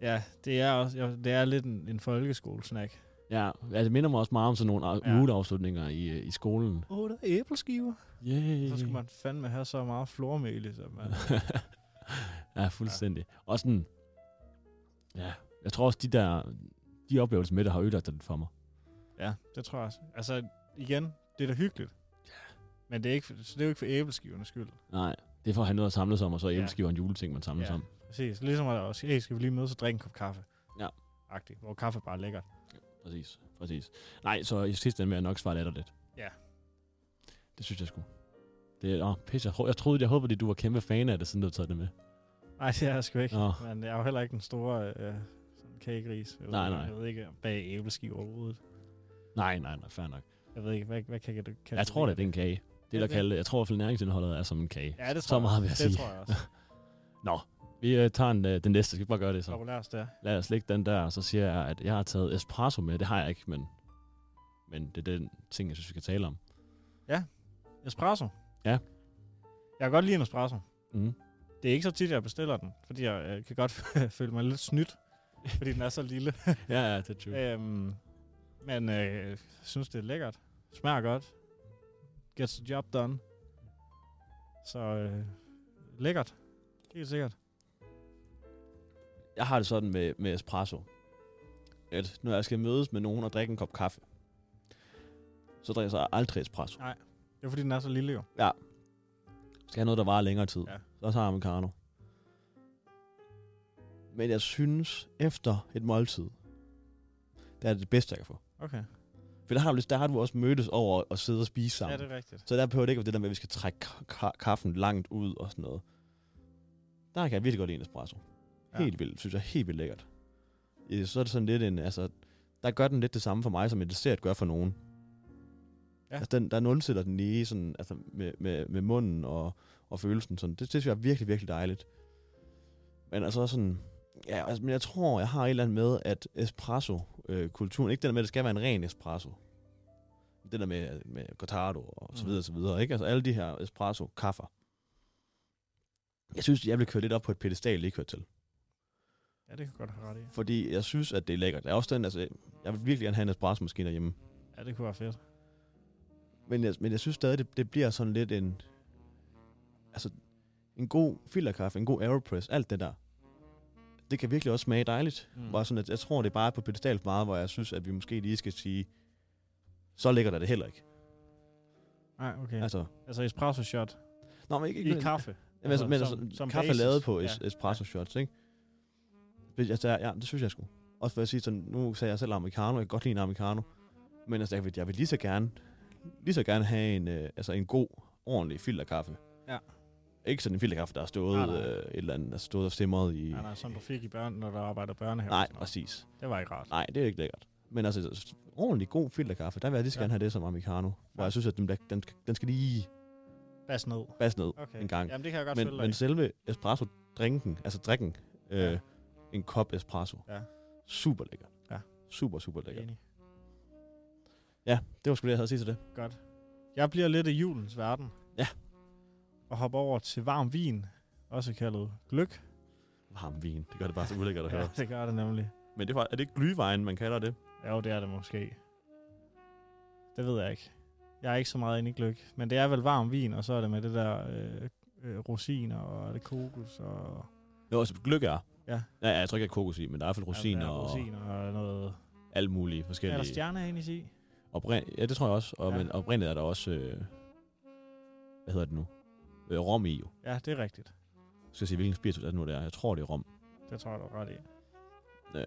H: Ja, det er, også, jeg- det er lidt en, en folkeskolesnack.
G: Ja, altså, det minder mig også meget om sådan nogle
H: Ja.
G: ja. ugeafslutninger i, øh, i skolen.
H: Åh, oh, der er æbleskiver.
G: Yay.
H: Så skulle man fandme have så meget flormel, som man...
G: (laughs)
H: (laughs)
G: ja, fuldstændig. Ja. Og sådan, ja, jeg tror også, de der, de oplevelser med det har ødelagt det for mig.
H: ja, det tror jeg også. Altså, igen, det er da hyggeligt. Men det er, ikke, for- så det er jo ikke for æbleskivernes skyld.
G: Nej, det er for at have noget at samle sig om, og så
H: Ja.
G: æbleskiver ja. en juleting, man samler sig om.
H: Præcis. Ligesom at der også, hey, skal vi lige mødes og drikke en kop kaffe?
G: Ja.
H: Agtigt, hvor kaffe er bare er lækkert.
G: Præcis, præcis. Nej, så i sidste ende vil jeg nok svare latterligt.
H: Ja.
G: Det synes jeg sgu. Det er, åh, pisse, jeg, tro- jeg troede, jeg håber, at du var kæmpe fan af det, siden du har taget (laughs) det med.
H: Nej, det er jeg sgu ikke.
G: Nå.
H: Men jeg er jo heller ikke den store øh, sådan kagegris. Jeg ved,
G: Nej,
H: ikke-
G: nej.
H: Jeg ved ikke, bag æbleskiver overhovedet.
G: Nej, nej, nej, fair nok.
H: Jeg ved ikke, hvad, hvad kan, kan, kan
G: Jeg tror da, det er en kage. Det, der
H: det-
G: kalder, jeg tror i hvert fald, næringsindholdet er som en kage.
H: Ja, det tror
G: Så meget
H: jeg.
G: vil jeg
H: også. det
G: sige.
H: tror jeg også.
G: Vi øh, tager en, øh, den næste, skal vi bare gøre det så?
H: Populært der.
G: lad os lægge den der, og så siger jeg, at jeg har taget espresso med. Det har jeg ikke, men, men det er den ting, jeg synes, vi kan tale om.
H: Espresso.
G: Ja.
H: Jeg kan godt lide en espresso.
G: Mm.
H: Det er ikke så tit, jeg bestiller den, fordi jeg øh, kan godt (laughs) føle mig lidt snydt, fordi den er så lille.
G: Ja, ja, det er true.
H: øhm, men øh, jeg synes, det er lækkert. Smager godt. Gets the job done. Så øh, lækkert. Helt sikkert.
G: Jeg har det sådan med, med espresso, at når jeg skal mødes med nogen og drikke en kop kaffe, så drikker jeg aldrig espresso.
H: Det er fordi, den er så lille jo.
G: skal have noget, der varer længere tid.
H: Ja.
G: Ja. Så tager jeg americano. Men jeg synes, efter et måltid, det er det bedste, jeg kan få.
H: Okay.
G: For der har, du, lyst- der har du også mødtes over at sidde og spise
H: Ja,
G: sammen.
H: det er rigtigt.
G: Så der behøver det ikke at være det der med, at vi skal trække ka- ka- kaffen langt ud og sådan noget. Der kan jeg virkelig godt lide en espresso.
H: Ja.
G: Helt vildt, synes jeg. Helt vildt lækkert. Øh, Så er det sådan lidt en, altså, der gør den lidt det samme for mig, som en dessert gør for nogen.
H: Ja.
G: Ja. Altså, den, der nulsætter den lige sådan, altså, med, med, med munden og, og følelsen. Sådan. Det, det synes jeg er virkelig, virkelig dejligt. Men altså også sådan, ja, altså, men jeg tror, jeg har et eller andet med, at espresso-kulturen, ikke det der med, at det skal være en ren espresso, det der med, med Gottardo og så
H: Mhm.
G: videre, og så videre, ikke? Altså alle de her espresso-kaffer. Jeg synes, jeg blev kørt lidt op på et pedestal, ikke hørt til.
H: Ja, det kan jeg godt have ret i.
G: Fordi jeg synes, at det er lækkert. Jeg, er også den, altså, jeg vil virkelig gerne have en espresso-maskine derhjemme.
H: Ja, det kunne være fedt.
G: Men jeg, men jeg synes stadig, det, det bliver sådan lidt en... Altså, en god filterkaffe, en god Aeropress, alt det der. Det kan virkelig også smage dejligt. Mm. Bare sådan, at jeg tror, det er bare på et pedestal for meget, hvor jeg synes, at vi måske lige skal sige, så lækkert er det heller ikke.
H: Nej, okay.
G: Ja. Altså,
H: Altså espresso shot
G: nå, men ikke,
H: i
G: ikke,
H: kaffe.
G: Jamen, altså,
H: Altså,
G: men
H: som-
G: som,
H: som
G: altså, som kaffe
H: basis.
G: er lavet på es,
H: Ja.
G: ja. espresso shots, ikke? Det- Altså, der- ja, det synes jeg sgu. Også for at sige sådan, nu sagde jeg selv americano, jeg kan godt lide en americano. Men altså, jeg vil, jeg vil lige så gerne, lige så gerne have en, øh, altså en god, ordentlig filterkaffe.
H: Ja.
G: Ikke sådan en filterkaffe, der har stået,
H: Nej,
G: nej,
H: nej.
G: nej. Øh, et eller andet, der har stået og stemret i...
H: Nej, nej, som du fik i børn, når der arbejder børnehave.
G: nej
H: og sådan noget.
G: præcis.
H: Det var ikke rart.
G: Nej, det er ikke lækkert. Men altså, s- ordentlig god filterkaffe, der vil jeg lige så
H: Ja.
G: gerne have det som americano.
H: Ja.
G: Hvor jeg synes, at den, bliver- den, skal- den skal lige
H: Bas ned.
G: basse ned.
H: Okay.
G: En gang.
H: Jamen, det kan jeg godt følge
G: men,
H: dig
G: men
H: i.
G: selve espresso-drinken, altså drikken, øh,
H: øh, Ja.
G: ja. en kop espresso,
H: Ja.
G: super lækker.
H: Ja.
G: Super, super
H: Jeg er
G: lækker.
H: enig.
G: Det var sgu det, jeg havde at sige til det.
H: Godt. Jeg bliver lidt i julens verden.
G: Ja.
H: Og hopper over til varm vin, også kaldet gløk.
G: Varm vin, det gør det bare så ulækkert at
H: Ja,
G: høre.
H: det gør det nemlig.
G: Men det var, er det ikke glyvejen, man kalder det?
H: Jo, det er det måske. Det ved jeg ikke. Jeg er ikke så meget inde i gløk. Men det er vel varm vin, og så er det med det der øh, øh, rosiner, og er det kokos, og...
G: Jo, altså gløk er.
H: Ja.
G: ja. jeg tror ikke, jeg er kokos i, men der er i hvert fald rosiner
H: ja,
G: og
H: rosiner og noget...
G: alt muligt
H: Er der
G: forskellige.
H: stjerner ind i?
G: Oprin- ja, det tror jeg også. Og,
H: Ja.
G: ja. Men oprindeligt er der også, øh, hvad hedder det nu? Øh, rom i jo.
H: Ja, det er rigtigt.
G: Jeg skal jeg sige, hvilken spiritus er det nu, der er? Jeg tror, det er rom.
H: Det tror jeg, du har ret i.
G: Øh,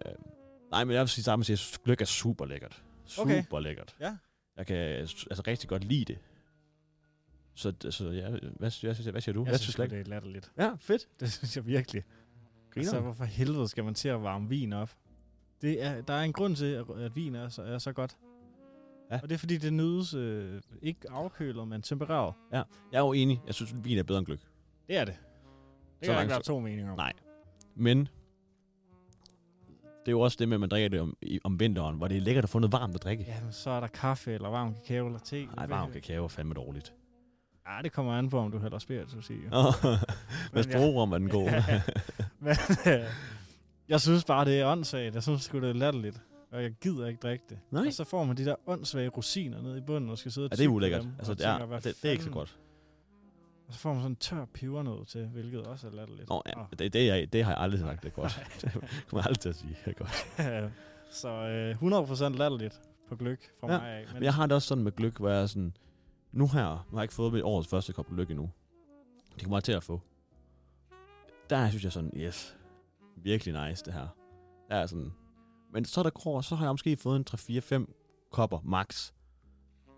G: nej, men jeg vil sige sammen, at jeg synes, gløk er super lækkert.
H: Okay.
G: Super okay. lækkert.
H: Ja.
G: Jeg kan øh, s- altså rigtig godt lide det. Så, d- så ja, hvad, sy- hvad, sy- hvad siger du?
H: Jeg
G: hvad
H: synes,
G: du
H: sgu, det er latterligt.
G: Ja, fedt.
H: Det synes jeg virkelig.
G: Griner.
H: Altså, hvorfor helvede skal man til at varme vin op? Det er, der er en grund til, at, at vin er så, er så godt. Ja.
G: Ja.
H: Og det er, fordi det nydes øh, ikke afkølet, men tempereret.
G: Jeg er jo enig. Jeg synes, vin er bedre end gløk.
H: Det er det. Det
G: Så
H: kan der
G: langt
H: ikke være
G: så-
H: to meninger om.
G: Nej. Men Det er jo også det med, at man drikker det om, i, om vinteren, hvor det er lækkert at få noget varmt at drikke.
H: Jamen, så er der kaffe, eller varm kakao, eller te.
G: Nej, varm kakao er
H: (laughs)
G: fandme dårligt.
H: Ja, det kommer an på, om du hælder spiritus i. jo.
G: Hvis
H: jeg-
G: bruger man den
H: (laughs)
G: god. (laughs)
H: Ja. (laughs) Men øh, jeg synes bare, det er åndssvagt. Jeg synes sgu, det er latterligt. Og jeg gider ikke drikke det.
G: Nej.
H: Og så får man de der åndssvage rosiner ned i bunden, og skal sidde og
G: ja, det
H: tygge
G: er
H: på
G: ulækkert.
H: dem, og
G: Altså, det
H: tænker,
G: er,
H: hvad
G: det, det er ikke så
H: fanden?
G: godt.
H: Og så får man sådan en tør pebernød til, hvilket også er latterligt.
G: Nå, ja,
H: Åh.
G: det, det, er, det har jeg aldrig sagt, det er (laughs) godt. Det kommer jeg aldrig til at sige, det er godt.
H: (laughs) så øh, 100% latterligt på gløk fra
G: Ja,
H: mig af.
G: Men jeg har det også sådan med gløk, hvor jeg er sådan, nu her, nu har jeg ikke fået mit årets første kop gløk endnu. Det kommer jeg til at få. Der synes jeg sådan, yes, virkelig nice det her. Der er sådan, men så er der går, så har jeg måske fået en 3-4-5 kopper max.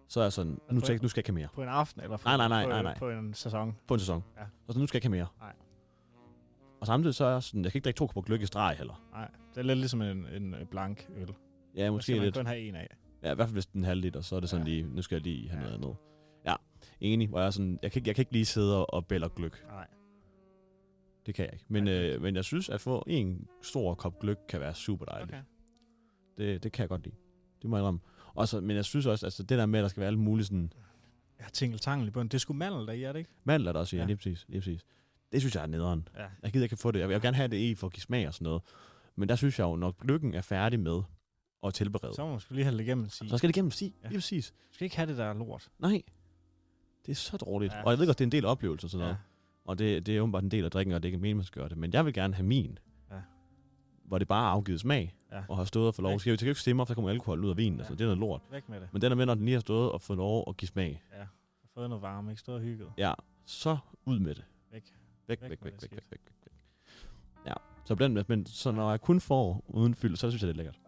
G: Så er jeg sådan, nu, tænker, jeg, nu skal jeg ikke have mere
H: På en aften eller på,
G: Nej, nej, nej,
H: på,
G: nej, nej.
H: på en sæson.
G: på en sæson.
H: Ja.
G: Og så nu skal jeg ikke have mere.
H: Nej.
G: Og samtidig så er jeg sådan, jeg kan ikke drikke to kopper gløk i streg heller.
H: Nej, det er lidt ligesom en, en øh, blank øl.
G: Ja,
H: Der skal
G: måske
H: man
G: lidt.
H: kun have en af.
G: Ja, i hvert fald hvis den er en halv liter, så er det sådan
H: Ja.
G: ja. lige, nu skal jeg lige have
H: Ja.
G: ja. noget andet. Ja, enig. Hvor jeg er sådan, jeg kan, ikke- jeg kan ikke lige sidde og- og bælge gløk.
H: Nej.
G: Det kan jeg ikke. Men,
H: Nej, det er
G: øh, men jeg synes, at få en stor kop gløk kan være super dejligt. Okay.
H: Okay.
G: Det, det kan jeg godt lide. Det må jeg indrømme. Og så, men jeg synes også, altså det der med, at der skal være alle mulige sådan...
H: Ja, tingeltangel i bunden. Det er sgu mandel, der i, er det ikke?
G: Mandler der også i, ja.
H: Ja.
G: lige præcis, lige præcis. Det synes jeg er nederen.
H: Ja.
G: Jeg gider ikke få det. Jeg vil, jeg vil gerne have det i for at give smag og sådan noget. Men der synes jeg jo, når gløkken er færdig med at tilberede,
H: Så
G: så,
H: må man sgu lige have det igennem og sige,
G: så skal det igennem sig.
H: Ja.
G: Ja. Lige præcis.
H: du skal ikke have det der lort.
G: Nej. Det er så dårligt.
H: Ja.
G: Ja. Og jeg ved godt, det er en del oplevelser og sådan noget. Og det, det er åbenbart en del af drikken, og det er ikke meningen, man skal gøre det. Men jeg vil gerne have min.
H: Ja.
G: Hvor det bare er afgivet smag,
H: Ja.
G: ja. og har stået og fået lov.
H: Ikke?
G: Så jeg kan jo ikke stemme op, så kommer alkohol ud af vinen, ja. altså,
H: Ja.
G: det er noget lort.
H: Væk med det.
G: Men den er med, når den lige har stået og fået lov at give smag.
H: Har fået noget varme, ikke? Stået og hygget.
G: Ja, så ud med det.
H: Væk.
G: Væk,
H: Væk
G: væk,
H: med
G: væk, væk,
H: det
G: væk,
H: skidt.
G: væk, væk, væk. Ja, så på den måde, men så når jeg kun får uden fyld, så synes jeg, det er lækkert.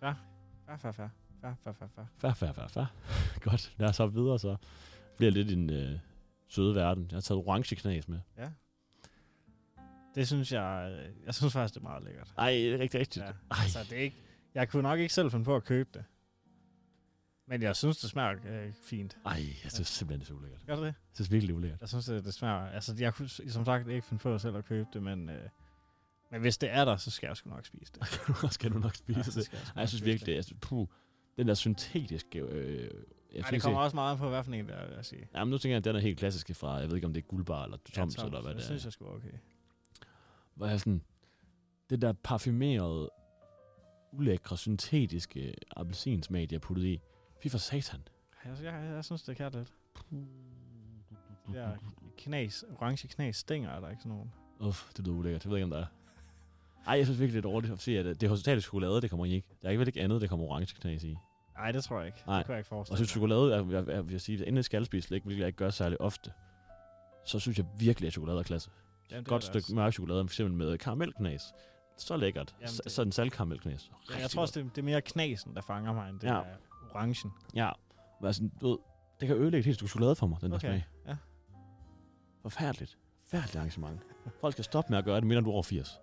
H: Fær, fær, fær. Fær, fær, fær, fær.
G: Fær, fær, fær, fær. (laughs) Godt, lad os hoppe videre så. Det bliver lidt en øh, søde verden. Jeg har taget orange knas med.
H: Det synes jeg, øh, jeg synes faktisk, det er meget lækkert.
G: Ej, det er rigtig rigtigt.
H: Ja.
G: Ej,
H: Så det er ikke, jeg kunne nok ikke selv finde på at købe det. Men jeg synes, det smager øh, fint.
G: ej, jeg synes simpelthen, det er så ulækkert.
H: Gør det det?
G: Jeg synes virkelig, det er ulækkert. (laughs)
H: Jeg synes, det, det smager... Altså, jeg kunne s- som sagt ikke finde på selv at købe det, men... Øh, men hvis det er der, så skal jeg sgu nok spise det.
G: skal du nok
H: Ja,
G: spise
H: så
G: det.
H: skal sgu
G: Altså, Ej,
H: nok
G: jeg synes
H: spise
G: virkelig, det. Jeg synes, puh, den der syntetiske... Øh, jeg
H: Ej,
G: synes
H: det kommer
G: ikke-
H: også meget an på, hvad for en det er, vil jeg sige.
G: Jamen, nu tænker jeg, at den er helt klassisk fra, jeg ved ikke, om det er guldbar eller
H: Ja,
G: toms, ja, eller hvad
H: det
G: det
H: synes
G: er.
H: jeg sgu er okay.
G: Hvor jeg sådan, det der parfumerede, ulækre, syntetiske appelsinsmag, de har puttet i. Fy for satan.
H: Jeg, jeg, jeg synes, det kan lidt. Ja, knas, orange knas stænger er der ikke sådan nogen.
G: Uff, det lyder ulækkert. Jeg ved ikke, om der er. Ej, jeg synes virkelig, det er dårligt at se, at det er hospitalet chokolade, det kommer i ikke. Der er ikke vel ikke andet, der kommer orange knas i.
H: Nej, det tror jeg ikke.
G: Nej.
H: Det kunne jeg ikke
G: Og
H: forestille
G: så chokolade, er, jeg, jeg vil sige, inden jeg skal spise slik, hvilket jeg ikke gør særlig ofte, så synes jeg virkelig, at chokolade er klasse.
H: Jamen, det er
G: godt
H: det
G: stykke
H: også.
G: mørk chokolade, for eksempel med karamelknas. Så lækkert.
H: Jamen,
G: Jamen,
H: det-
G: det... Sådan saltkaramelknas.
H: Ja, jeg tror også, det, det er mere knasen, der fanger mig, end det ja.
G: Ja.
H: er orangen.
G: Ja, men altså, du ved, det kan ødelægge et helt stykke chokolade for mig, den
H: Okay,
G: der smag.
H: ja.
G: Forfærdeligt. Forfærdeligt arrangement. Folk skal stoppe med at gøre det, mindre du er over 80.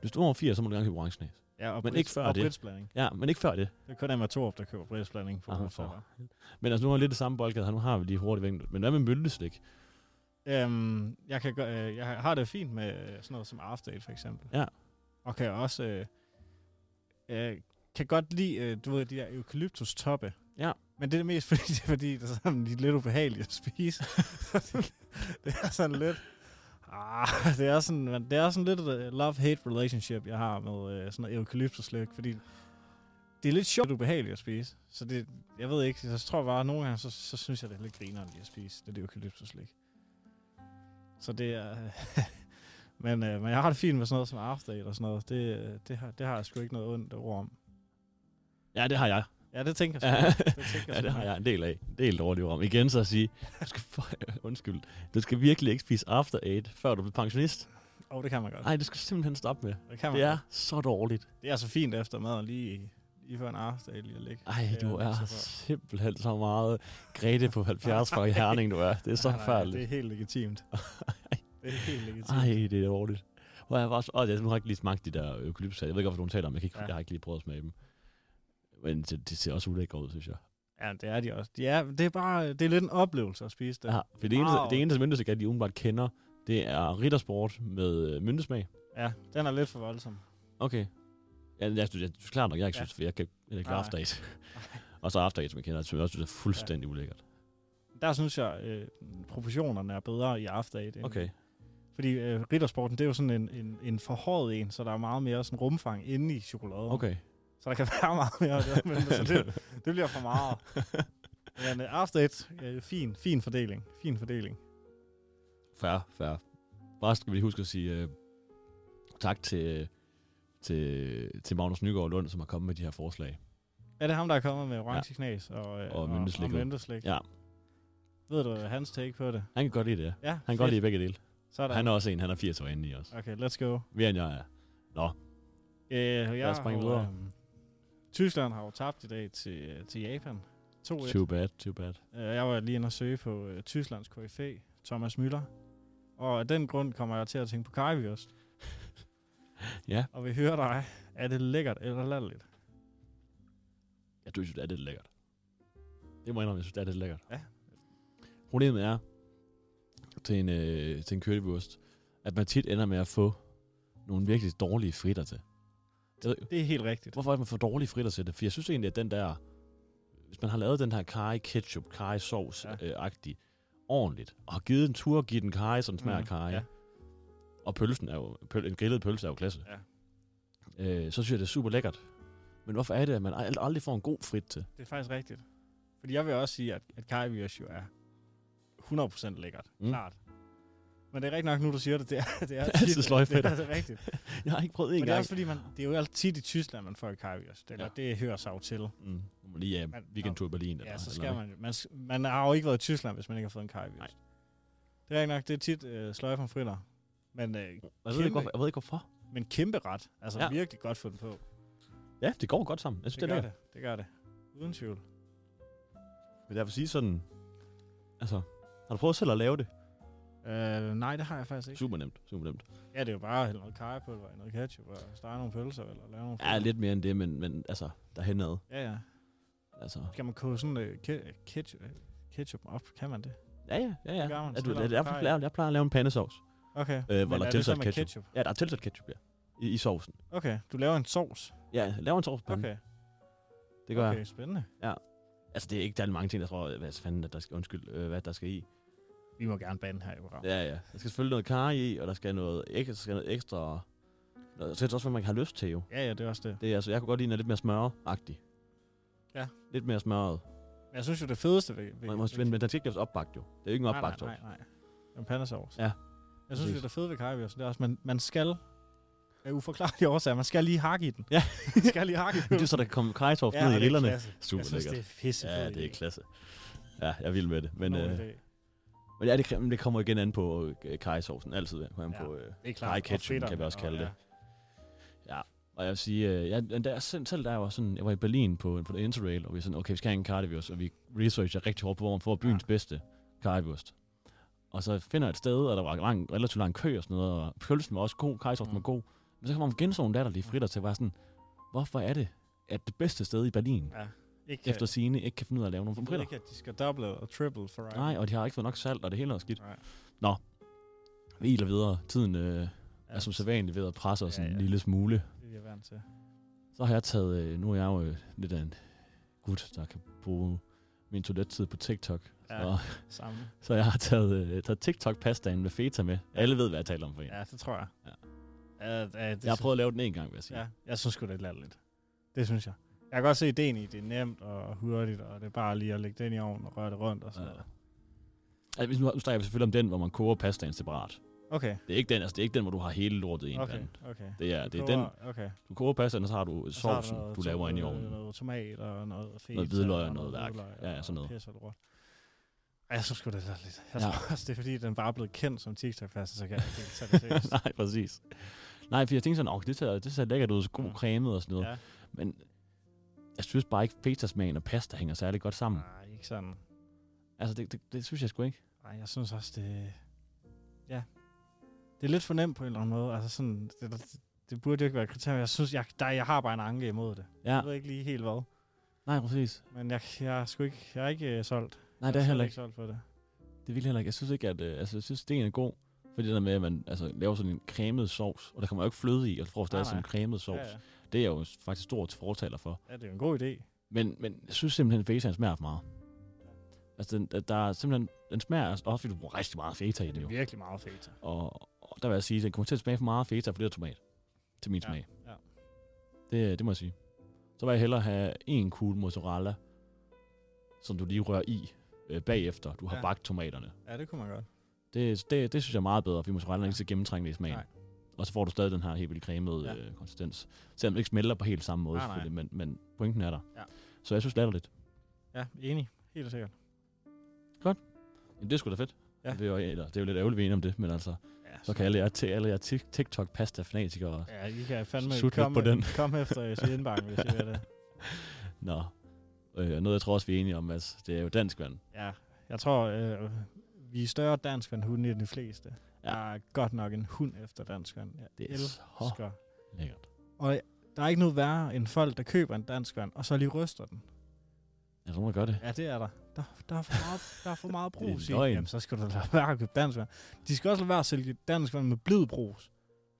G: Hvis du er over 80, så må du gerne købe orange knas.
H: Ja, og
G: Men
H: brits-
G: ikke før
H: og
G: det.
H: britsblanding.
G: Ja, men ikke før det.
H: Det er kun Emma Torp, der køber britsblanding på
G: Ah,
H: ah,
G: for Men altså, nu har vi lidt det samme boldgade her. Nu har vi lige hurtigt vinkel. Men hvad med myldeslik?
H: øhm, jeg, kan gø- øh, jeg har det fint med øh, sådan noget som After Eight, for eksempel.
G: Ja.
H: Og kan også... Øh, øh, kan godt lide, øh, du ved, de der eukalyptus-toppe.
G: Ja.
H: Men det er mest (laughs) fordi, det er, fordi det er sådan, de er lidt ubehagelige at spise. (laughs) det er sådan lidt... Ah, det er sådan, men det er sådan lidt et øh, love-hate relationship, jeg har med øh, sådan noget eukalyptuslyk, fordi det er lidt sjovt ubehageligt at spise. Så det, jeg ved ikke, jeg tror bare, at nogle gange, så, så synes jeg, det er lidt grineren lige at spise det der eukalyptuslyk. Så det er... (laughs) men, øh, men jeg har det fint med sådan noget som After Eight og sådan noget. Det, øh, det, har, det har jeg sgu ikke noget ondt ord om.
G: Ja, det har jeg.
H: Ja, det tænker
G: Ja.
H: jeg sgu. det
G: (laughs)
H: tænker
G: Ja, det har
H: sgu.
G: jeg en del af. En del dårligt om. Igen så at sige, du skal, for, (laughs) undskyld, du skal virkelig ikke spise After Eight, før du bliver pensionist.
H: Åh, oh, det kan man godt.
G: Nej, det skal du simpelthen stoppe med.
H: Det, kan man
G: Det er
H: Godt.
G: så dårligt.
H: det er så fint efter maden lige, lige før en After Eight lige at ligge.
G: Ej,
H: Det
G: du
H: jeg
G: er
H: så for.
G: simpelthen så meget Grete på 70 fra Herning, du er. Det er så
H: Nej, nej, Det
G: (laughs) forfærdeligt.
H: er helt legitimt. det er helt legitimt.
G: Ej, det er dårligt. Hvor jeg var så, åh, jeg, nu har jeg ikke lige smagt de der økolypsager. Jeg ved ikke, hvorfor du taler om. Jeg, kan ikke,
H: Ja.
G: ja. jeg har ikke lige prøvet at smage dem. Men det, det ser også ulækkert ud, synes jeg.
H: Ja, det er de også. De er, det er bare øh, det er lidt en oplevelse at spise det.
G: Ja, for det eneste,
H: Wow.
G: det eneste myndesik, de umiddelbart kender, det er riddersport med øh, myndesmag.
H: ja den er lidt for voldsom.
G: Okay. Ja, jeg synes, jeg, du er klar nok, jeg ikke
H: Ja.
G: synes, for jeg kan jeg ikke
H: Nej.
G: After Eight.
H: (laughs)
G: (laughs) og så After Eight, som jeg kender, som jeg også synes er fuldstændig ulækkert.
H: Der synes jeg, øh, proportionerne er bedre i After Eight. end-
G: Okay.
H: Fordi øh, riddersporten, det er jo sådan en, en, en forhøjet en, så der er meget mere sådan rumfang inde i chokoladen.
G: Okay.
H: Så der kan (laughs) være meget mere. Der, men, så det, det bliver for meget. Men øh, After Eight, øh, fin, fin fordeling. Fin fordeling.
G: Færre, færre. Bare skal vi lige huske at sige øh, tak til, til, til Magnus Nygaard Lund, som har kommet med de her forslag.
H: Er det ham, der er kommet med orange ja. knas og, øh,
G: Og mynteslik,
H: og,
G: vel?
H: mynteslik?
G: Ja.
H: Ved du øh, hans take på det?
G: Han kan godt lide det, ja.
H: Ja,
G: Han kan godt lide begge dele.
H: Sådan.
G: Han er også en, han er 80 år inde i os.
H: Okay, let's go.
G: Mere end jeg er. Nå,
H: Øh, jeg
G: os springe
H: har,
G: videre.
H: øhm, Tyskland har jo tabt i dag til, til Japan. 2-1.
G: too bad, too bad.
H: Øh, Jeg var lige inde og søge på øh, Tysklands KFA, Thomas Müller. Og af den grund kommer jeg til at tænke på karriereost.
G: (laughs) Ja.
H: Og vi hører dig. Er det lækkert eller latterligt?
G: Jeg synes, det er lidt lækkert. Det må jeg indrømme, jeg synes, det er lidt lækkert.
H: Ja.
G: Problemet er, til en, øh, til en kølevurst, at man tit ender med at få nogle virkelig dårlige fritter til. Jeg ved,
H: Det er helt rigtigt.
G: hvorfor er man for dårlige fritter til det? For jeg synes egentlig, at den der... Hvis man har lavet den her curry ketchup, curry sauce
H: Ja.
G: ja. øh, agtig ordentligt, og har givet en tur og givet den curry, så den smager
H: Mhm,
G: mm, curry,
H: ja.
G: ja. og pølsen er jo, pøl, en grillet pølse er jo klasse, ja. øh, så synes jeg, det er super lækkert. Men hvorfor er det, at man ald- aldrig får en god frit til?
H: Det er faktisk rigtigt. Fordi jeg vil også sige, at, at karriereost jo er 100% lækkert. Mm.
G: Mm.
H: Klart. Men det er rigtigt nok, nu du siger det, det er, (laughs) det er,
G: altid
H: tit-
G: sløjfedt.
H: (laughs) Det er altså rigtigt.
G: Jeg har ikke prøvet det
H: Men det er
G: engang.
H: også fordi, man, det er jo altid i Tyskland, man får karriereost. Eller ja.
G: Ja.
H: det hører sig jo til.
G: Mm, nu må lige ja,
H: Man-
G: weekendtur i Berlin.
H: Ja,
G: eller-
H: så
G: eller
H: skal man, jo- man s- Man har jo ikke været i Tyskland, hvis man ikke har fået en
G: Nej.
H: karriereost. Det er rigtigt nok, det er tit øh, sløjfer fritter. Men, øh,
G: Jeg ved, ikke,
H: Kæmpe.
G: hvorfor, jeg ved ikke hvorfor.
H: men kæmpe ret. Altså ja.
G: Ja.
H: virkelig godt fundet på. Det,
G: Ja, det går godt sammen. Jeg synes, det,
H: gør
G: det er
H: det. Det gør det. Uden tvivl.
G: lækkert. Men jeg vil sige sådan... Altså, har du prøvet selv at lave det?
H: Øh, nej, det har jeg faktisk ikke.
G: Super nemt, super nemt.
H: Ja, det er jo bare hælde noget kajepulver i noget ketchup og stege nogle pølser eller lave nogle...
G: Ja, lidt mere end det, men, men altså, derhenad.
H: Ja, ja.
G: Altså,
H: Kan man koge sådan øh, ke- øh, ketchup, øh, ketchup op? Kan man det?
G: ja, ja, ja. ja.
H: gør man.
G: ja
H: Så
G: du,
H: laver
G: jeg,
H: man
G: jeg,
H: kaj.
G: plejer, jeg plejer at lave en pandesauce,
H: Okay.
G: øh, hvor
H: Men
G: der er
H: det så
G: tilsat
H: med
G: ketchup.
H: ketchup?
G: Ja, der er tilsat ketchup, ja. I, i sovsen.
H: Okay, du laver en sovs.
G: Ja, laver en sovspande.
H: Okay,
G: Det gør okay.
H: okay
G: jeg.
H: spændende.
G: Altså, det er ikke der er mange ting, jeg tror, hvad fanden, at der skal, undskyld, øh, hvad der skal i.
H: Vi må gerne bande her i programmet.
G: Ja, ja. Der skal selvfølgelig noget karry i, og der skal noget ekstra. Der skal noget ekstra og så er det også, hvad man har lyst til, jo.
H: Ja, ja, det er også det.
G: Det er, altså, jeg kunne godt lide, når lidt mere smørret-agtig.
H: Ja.
G: Lidt mere smørret.
H: Men jeg synes jo, det fedeste ved... ved
G: Man må, men, men den skal ikke laves opbagt, jo. Det er jo ikke en
H: nej,
G: opbagt
H: nej,
G: sovs.
H: nej, nej. En pandesauce.
G: Ja,
H: Jeg synes,
G: præcis.
H: jo, det er fede ved karrierevirsen, det er også, man, man skal af uforklarlige årsager, man skal lige hakke i den.
G: Ja.
H: man skal lige
G: (laughs)
H: hakke i den.
G: (laughs) Det er så, der kan komme krejsovs
H: og
G: ned
H: det er
G: i rillerne.
H: klasse.
G: Super
H: jeg synes,
G: lækkert.
H: det er pisse
G: Ja, det er klasse. Ja, jeg er vild med det. Men,
H: Men,
G: øh, men ja, det, men det kommer igen an på øh, karrysovsen. Altid kommer an
H: Ja.
G: på... Øh,
H: det er
G: nej,
H: klart.
G: ketchupen
H: Og fedtere,
G: kan vi også
H: og-
G: kalde
H: ja.
G: det. og jeg vil sige, øh, jeg, men der, er selv, selv der jeg var sådan, jeg var i Berlin på, på Interrail, og vi er sådan, okay, vi skal have en kardivirus, og vi researcher rigtig hårdt på, hvor man får byens ja. bedste kardivirus. Og så finder jeg et sted, og der var lang, relativt lang kø og sådan noget, og pølsen var også god, kajsovsen
H: Mm.
G: var god. Men så kommer man gensogen der, der lige fritter til, og var sådan, hvorfor er det, at det bedste sted i Berlin,
H: Ja. Ikke,
G: ja. efter sine ikke kan finde ud af at lave nogle
H: jeg ved
G: fritter?
H: ikke, at de skal double og triple for right.
G: Nej, og de har ikke fået nok salt, og det hele er skidt.
H: Nej.
G: Nå, vi iler videre. Tiden øh,
H: Ja,
G: er som sædvanligt ved at presse os
H: Ja,
G: ja, ja.
H: ja.
G: en lille smule.
H: Det er jeg vant til.
G: Så har jeg taget, øh, nu er jeg jo øh, lidt af en gut, der kan bruge min toilettid på TikTok.
H: Ja,
G: Ja. Og,
H: samme.
G: så (laughs) jeg har taget, øh, taget TikTok-pastaen med feta med. Alle ved, hvad jeg taler om for en. Ja,
H: Ja, det tror jeg.
G: Ja.
H: Ja, ja, det
G: jeg har
H: sy-
G: prøvet at lave den en gang, vil jeg sige.
H: Ja, jeg synes sgu, det er latterligt. Det synes jeg. Jeg kan godt se ideen i, det er nemt og hurtigt, og det er bare lige at lægge den i ovnen og røre det rundt og sådan
G: Ja.
H: noget.
G: Altså, hvis nu, nu snakker jeg selvfølgelig om den, hvor man koger pastaen separat.
H: Okay,
G: Det er ikke den, altså, det er ikke den hvor du har hele lortet i en
H: okay,
G: pande.
H: okay.
G: Det er, det er
H: Koger-
G: den,
H: okay.
G: du koger pastaen, og så har du
H: Og så er der
G: sovsen,
H: noget
G: du
H: to-
G: laver ind i
H: noget-
G: (laughs) ovnen.
H: Noget tomat og noget feta.
G: Noget hvidløg og noget værk.
H: hvidløg
G: Ja, ja,
H: og
G: sådan noget.
H: Pis og lort. Ej, jeg synes sgu, det er lidt. Jeg
G: Ja.
H: tror også, det er fordi, den bare er blevet kendt som TikTok-fast, så kan jeg ikke helt tage det seriøst.
G: Nej, præcis. Nej, for jeg tænkte sådan, åh, det ser, det ser lækkert ud, så god
H: Ja.
G: cremet og sådan (laughs) noget.
H: Mm. Ja.
G: Men jeg synes bare ikke, feta-smagen og pasta hænger særlig godt sammen.
H: Nej, ikke sådan.
G: Altså, det, det, det synes jeg sgu ikke.
H: Nej, jeg synes også, det... Ja. Det er lidt for nemt på en eller anden måde. Altså sådan, det, det, det burde jo ikke være et kriterium. Jeg synes, jeg, der, jeg har bare en anke imod det.
G: Ja,
H: Jeg ved ikke lige helt hvad.
G: nej, præcis.
H: Men jeg, jeg, er sgu ikke, jeg er ikke øh, solgt.
G: Nej,
H: jeg
G: det er
H: slet
G: heller ikke.
H: solgt på det.
G: Det vil heller ikke. Jeg synes ikke, at... Øh, altså, jeg synes, det er god. Fordi det der med, at man altså, laver sådan en cremet sovs, og der kommer jo ikke fløde i, og så får stadig
H: Nej,
G: sådan en
H: nej.
G: cremet sovs.
H: Ja, ja.
G: Det er jeg jo faktisk stor fortaler for.
H: ja, det er jo en god idé.
G: Men, men jeg synes simpelthen, at feta smager for meget. Altså, den, der- der er simpelthen, den smager, altså, også fordi du bruger rigtig meget feta i det
H: Det
G: jo.
H: er virkelig meget fedt.
G: Og, og der vil jeg sige, at den kommer til at smage for meget feta, for det er tomat. Til min
H: Ja,
G: smag.
H: ja.
G: Det, det må jeg sige. Så vil jeg hellere have en kugle mozzarella, som du lige rører i øh, bagefter. Du har
H: Ja.
G: ja. bagt tomaterne.
H: Ja, det kunne man godt.
G: Det, det, det synes jeg er meget bedre, fordi mozzarella ja.
H: Ja.
G: ikke så gennemtrængende i smagen.
H: Nej.
G: Nej. Og så får du stadig den her helt vildt cremede
H: Ja.
G: ja. øh, konsistens. Selvom det ikke smelter på helt samme måde,
H: Nej, nej.
G: selvfølgelig, men, men pointen er der.
H: Ja.
G: Så jeg synes latterligt.
H: Ja, enig. Helt sikkert.
G: Jamen, det er sgu da fedt.
H: Ja.
G: Ja. Det, er jo, eller, det er jo lidt ærgerligt, vi er enige om det, men altså,
H: Ja,
G: så kan alle jer, til alle jer tik- TikTok-pasta-fanatikere...
H: Ja, I kan fandme
G: Sut lidt
H: komme,
G: på den.
H: komme efter jeres indbakken, hvis I vil det.
G: Nå. Øh, noget, jeg tror også, vi er enige om, at det er jo dansk vand.
H: Ja, jeg tror, øh, vi er større dansk end hunde end de fleste. Ja.
G: Ja.
H: Jeg er godt nok en hund efter dansk vand. Jeg
G: Det er så
H: elsker.
G: lækkert.
H: Og der er ikke noget værre end folk, der køber en dansk vand, og så lige ryster den.
G: Er der nogen, der gør det?
H: Ja, det er der. Der, der, er, for meget, der er for meget
G: (laughs) Det er
H: brus i.
G: løgn.
H: Jamen, så skal du lade være at købe dansk vand. De skal også lade være at sælge dansk vand med blid brus.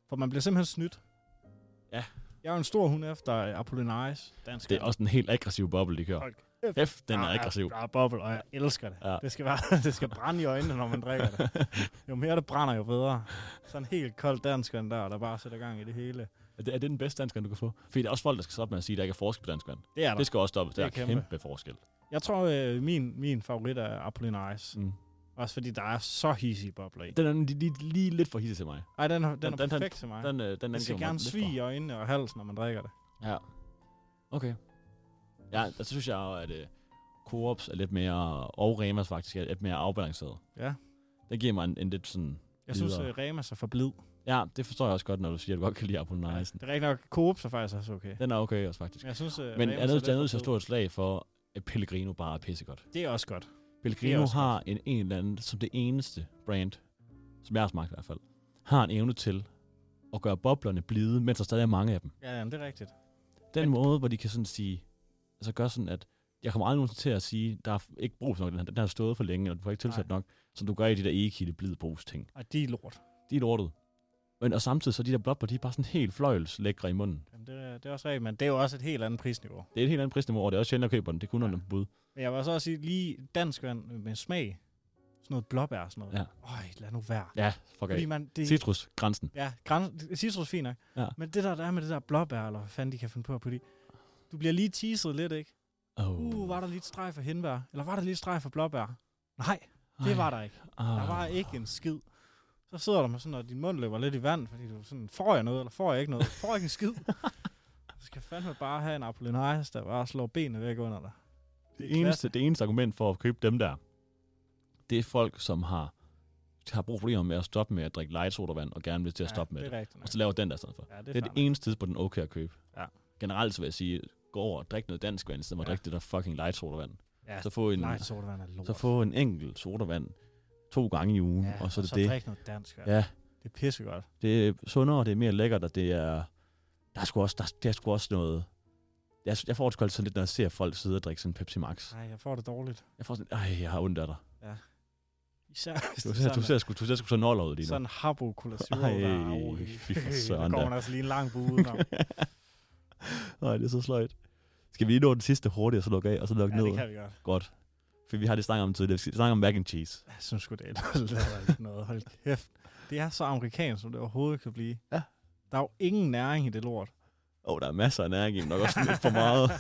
H: For man bliver simpelthen snydt.
G: Ja.
H: Jeg er jo en stor hund efter Apollinaris dansk
G: Det er
H: vand.
G: også en helt aggressiv boble, de kører.
H: Hold Ah,
G: F, den er
H: Der
G: aggressiv.
H: Der er boble, og jeg elsker det. Ja.
G: Ja.
H: Det, skal være, (laughs) det skal brænde i øjnene, når man drikker det.
G: (laughs)
H: Jo mere det brænder, jo bedre. Sådan helt kold dansk vand der, der bare sætter gang i det hele.
G: Er det, er det den bedste dansk vand, du kan få? Fordi der er også folk, der skal stoppe med at sige, at der ikke er forskel på dansk vand.
H: Det er
G: Det
H: der.
G: skal også stoppes.
H: Det
G: Der
H: er
G: er
H: kæmpe.
G: kæmpe, forskel.
H: Jeg tror, øh, min, min favorit er Apollinaris.
G: Mm.
H: Også fordi der er så hissige bobler i.
G: Den er lige, lige, lige lidt for hisse til mig.
H: Ej, den, er- den er
G: den-
H: perfekt til mig.
G: Den, øh, den
H: Den skal
G: angiver mig
H: gerne
G: lidt
H: svige i øjnene og halsen, når man drikker det.
G: for. Ja. Okay. Ja, der synes jeg jo, at øh, Coops er lidt mere, og Remas faktisk er lidt mere afbalanceret.
H: Ja.
G: Det giver mig en, en lidt sådan...
H: Jeg synes,
G: Videre.
H: at Remas er for blid.
G: Ja, det forstår jeg også godt, når du siger, at du godt kan lide
H: Ja,
G: Apollinaisen.
H: Det er rigtig nok. Coop er faktisk også okay.
G: Den er okay også, faktisk.
H: Men jeg synes, at
G: Men
H: Remas
G: jeg er nødt
H: lidt
G: til, jeg er
H: for
G: nødt til at
H: blid.
G: slå et slag for, at Pellegrino bare er pissegodt.
H: Det er også godt. Det er
G: Pellegrino
H: også
G: har en, en eller anden, som det eneste brand, som jeg har smagt i hvert fald, har en evne til at gøre boblerne blide, mens der stadig er mange af dem.
H: Ja, jamen, det er rigtigt.
G: Den måde, hvor de kan sådan sige, altså gøre sådan, at jeg kommer aldrig nogensinde til at sige, der er f- ikke brug for nok, den her, den her har stået for længe, eller du får ikke tilsat
H: Nej.
G: nok, som du gør i de der egekilde blide brugs ting.
H: Og de er lort.
G: De er lortet. Men og samtidig så er de der blobler, de er bare sådan helt fløjels lækre i munden.
H: Jamen, det, er, det er også rigtigt, men det er jo også et helt andet prisniveau.
G: Det er et helt andet prisniveau, og det er også sjældent at købe den. Det kunne
H: Ja.
G: ja. under bud.
H: Men jeg vil også også sige, lige dansk vand med smag. Sådan noget blåbær og sådan noget.
G: Ja.
H: Øj, lad nu være.
G: Ja, fuck
H: Fordi
G: af.
H: man, det,
G: Citrus, grænsen.
H: ja, græn, citrus er fint nok.
G: Ja.
H: Men det der, der er med det der blåbær, eller hvad fanden de kan finde på at putte i. Du bliver lige teaset lidt, ikke?
G: Oh.
H: Uh, var der lige et streg for henbær? Eller var der lige et streg for blåbær? Nej, det var der ikke.
G: Ah.
H: Der var ikke en skid. Så sidder du med sådan, og din mund løber lidt i vand, fordi du sådan, får jeg noget, eller får jeg ikke noget? Får jeg ikke en
G: (laughs)
H: skid? Så skal fandme bare have en Apollinaris, der bare slår benene væk under dig.
G: det, eneste, det eneste argument for at købe dem der, det er folk, som har, har brug problemer med at stoppe med at drikke light sodavand, og gerne vil til at stoppe med
H: ja,
G: det.
H: det. er rigtigt nok.
G: Og så laver den der i stedet for.
H: Ja,
G: Det er det eneste tidspunkt, den er okay at købe.
H: Ja.
G: Generelt så vil jeg sige, gå over og drik noget dansk vand, i stedet for
H: Ja.
G: at drikke det der fucking light sodavand.
H: Ja,
G: Så få en,
H: Nej, sodavand er lort.
G: så få en enkelt sodavand to gange i ugen, og så er
H: så
G: det det.
H: drik noget dansk. Ja.
G: Ja,
H: Det er pissegodt.
G: det er sundere, det er mere lækkert, og det er... Der er sgu også, der, der er sgu også noget... Jeg, jeg får det sgu altid sådan lidt, når jeg ser folk sidde og drikke sådan en Pepsi Max.
H: Nej, jeg får det dårligt.
G: Jeg får sådan, ej, jeg har ondt af dig.
H: Især hvis
G: (laughs) Du
H: det er
G: ser,
H: sådan,
G: du ser, sgu, du ser sgu så noller ud lige nu.
H: sådan en habo cola zero,
G: Ej,
H: der er oh,
G: fy for søren
H: (laughs) Der går
G: da.
H: man altså lige en lang bue
G: (laughs)
H: udenom.
G: Nej, det er så sløjt. Skal vi lige nå den sidste hurtigt, og så lukke af, og så lukke
H: ja,
G: ned?
H: det kan vi godt.
G: Godt. For vi har det snakket om tidligere. Vi skal snakke om mac and cheese.
H: Jeg synes sgu, det er (laughs) lidt noget. Hold kæft. Det er så amerikansk, som det overhovedet kan blive.
G: Ja.
H: Der er jo ingen næring i det lort.
G: Åh, oh, der er masser af næring i, men nok også lidt for
H: (laughs)
G: meget.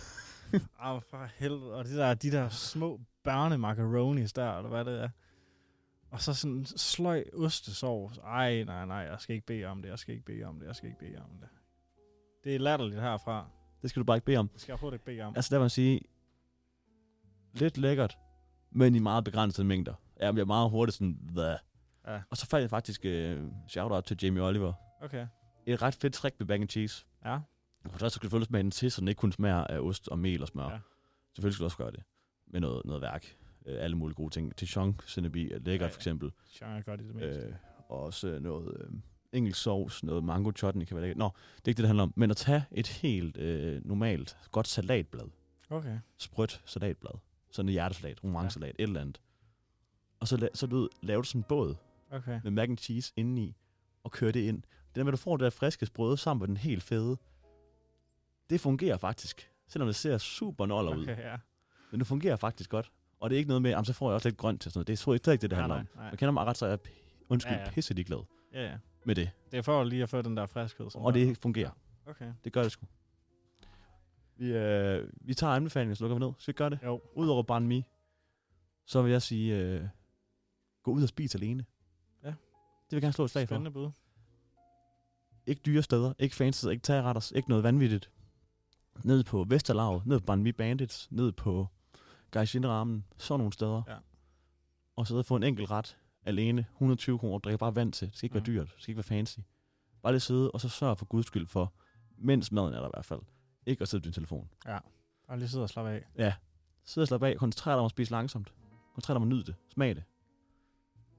H: Ah, for helvede. Og de der, de der små børne macaronis der, eller hvad det er. Og så sådan sløj ostesovs. Ej, nej, nej, jeg skal ikke bede om det, jeg skal ikke bede om det, jeg skal ikke bede om det. Det er latterligt herfra.
G: Det skal du bare ikke bede om.
H: Det skal jeg overhovedet ikke bede om.
G: Altså, der vil jeg sige, lidt lækkert, men i meget begrænsede mængder. Jeg bliver meget hurtigt sådan, hvad?
H: Ja.
G: Og så fandt jeg faktisk øh, shout-out til Jamie Oliver.
H: Okay.
G: Et ret fedt trick med mac and cheese.
H: Ja.
G: Og så skal du selvfølgelig smage den til, så den ikke kun smager af ost og mel og smør.
H: Ja.
G: Ja. Selvfølgelig skal du også gøre det med noget, noget værk. Øh, alle mulige gode ting. Dijon sennebi er lækkert
H: Ja,
G: ja,
H: ja.
G: ja. for eksempel.
H: Genre er godt i det mindste.
G: Øh, og også øh, noget øh, engelsk sovs, noget mango chutney kan være lækkert. Nå, det er ikke det, det handler om. Men at tage et helt øh, normalt, godt salatblad,
H: Okay.
G: sprødt salatblad, sådan et hjertesalat, romansalat, ja. et eller andet, og så, la- så du ved, lave det sådan en båd,
H: Okay.
G: med mac and cheese indeni, og kører det ind. Det der med, at du får det der friske sprøde sammen med den helt fede, det fungerer faktisk. Selvom det ser super noller okay. ud.
H: Okay, ja.
G: Men det fungerer faktisk godt. Og det er ikke noget med, jamen, så får jeg også lidt grønt til sådan noget. Det tror jeg slet ikke, det, det
H: Nej,
G: handler
H: nej,
G: om.
H: nej.
G: Man kender mig ret, så er jeg p- undskyld,
H: Ja,
G: ja,
H: ja.
G: ja. pisse ligeglad
H: Ja, ja.
G: med det.
H: Det er for lige at få den der friskhed. sådan
G: Og
H: der.
G: det fungerer.
H: Okay.
G: Det gør det sgu. Vi, øh, vi tager anbefalingen, så lukker vi ned. Skal vi gøre det?
H: Jo.
G: Udover Banh Mi, så vil jeg sige, øh, gå ud og spis alene.
H: Ja.
G: Det vil jeg gerne slå et slag for.
H: Spændende bud.
G: Ikke dyre steder, ikke fancy, ikke tageretters, ikke noget vanvittigt. Ned på Vesterlaget, ned på Banh Mi Bandits, ned på Gaishinramen, sådan nogle steder.
H: Ja.
G: Og sidde og få en enkelt ret alene, 120 kroner, drikke bare vand til. Det skal ikke
H: Mhm.
G: være dyrt, det skal ikke være fancy. Bare lige sidde, og så sørg for guds skyld for, mens maden er der i hvert fald, ikke at sidde på din telefon.
H: Og lige sidde og slappe af.
G: Sid og slap af, koncentrer dig om at spise langsomt. Koncentrer dig om at nyde det, smag det.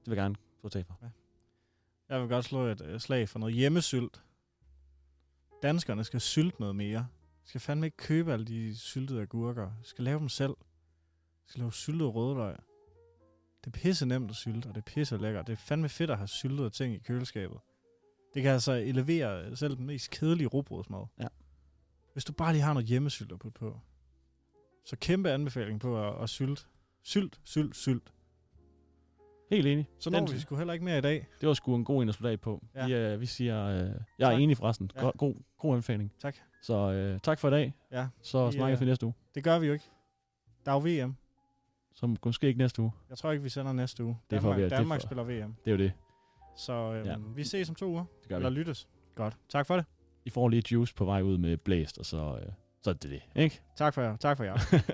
G: Det vil jeg gerne få tag for.
H: Jeg vil godt slå et øh, slag for noget hjemmesylt. Danskerne skal sylte noget mere. De skal fandme ikke købe alle de syltede agurker. De skal lave dem selv. De skal lave syltede rødløg. Det er pisse nemt at sylte, og det er pisse lækkert. Det er fandme fedt at have syltede ting i køleskabet. Det kan altså elevere øh, selv den mest kedelige robrødsmad.
G: Ja.
H: Hvis du bare lige har noget hjemmesylt at putte på. Så kæmpe anbefaling på at, at sylte. Sylt, sylt, sylt.
G: Helt enig.
H: Så når
G: Den-
H: vi sgu heller ikke mere i dag.
G: Det var sgu en god en at slutte af på.
H: Ja.
G: Ja. Vi, øh, vi siger, øh, jeg er
H: Tak.
G: enig forresten.
H: Ja.
G: Ja. God, god, god anbefaling.
H: Tak.
G: Så øh, tak for i dag.
H: Ja,
G: Så
H: vi,
G: snakkes vi
H: øh,
G: næste uge.
H: Det gør vi jo ikke. Der er jo VM.
G: Så måske ikke næste uge.
H: Jeg tror ikke, vi sender næste uge.
G: Det er for
H: Danmark,
G: at være- det er
H: Danmark
G: for-
H: spiller VM.
G: Det er jo det.
H: Så øhm, ja.
G: Ja.
H: vi ses om to uger.
G: Det gør
H: Eller
G: vi.
H: lyttes. Godt. Tak for det.
G: I får lige juice på vej ud med blæst, og så, øh, så er det det. Ikke?
H: Tak for jer. Tak for jer.
G: (laughs)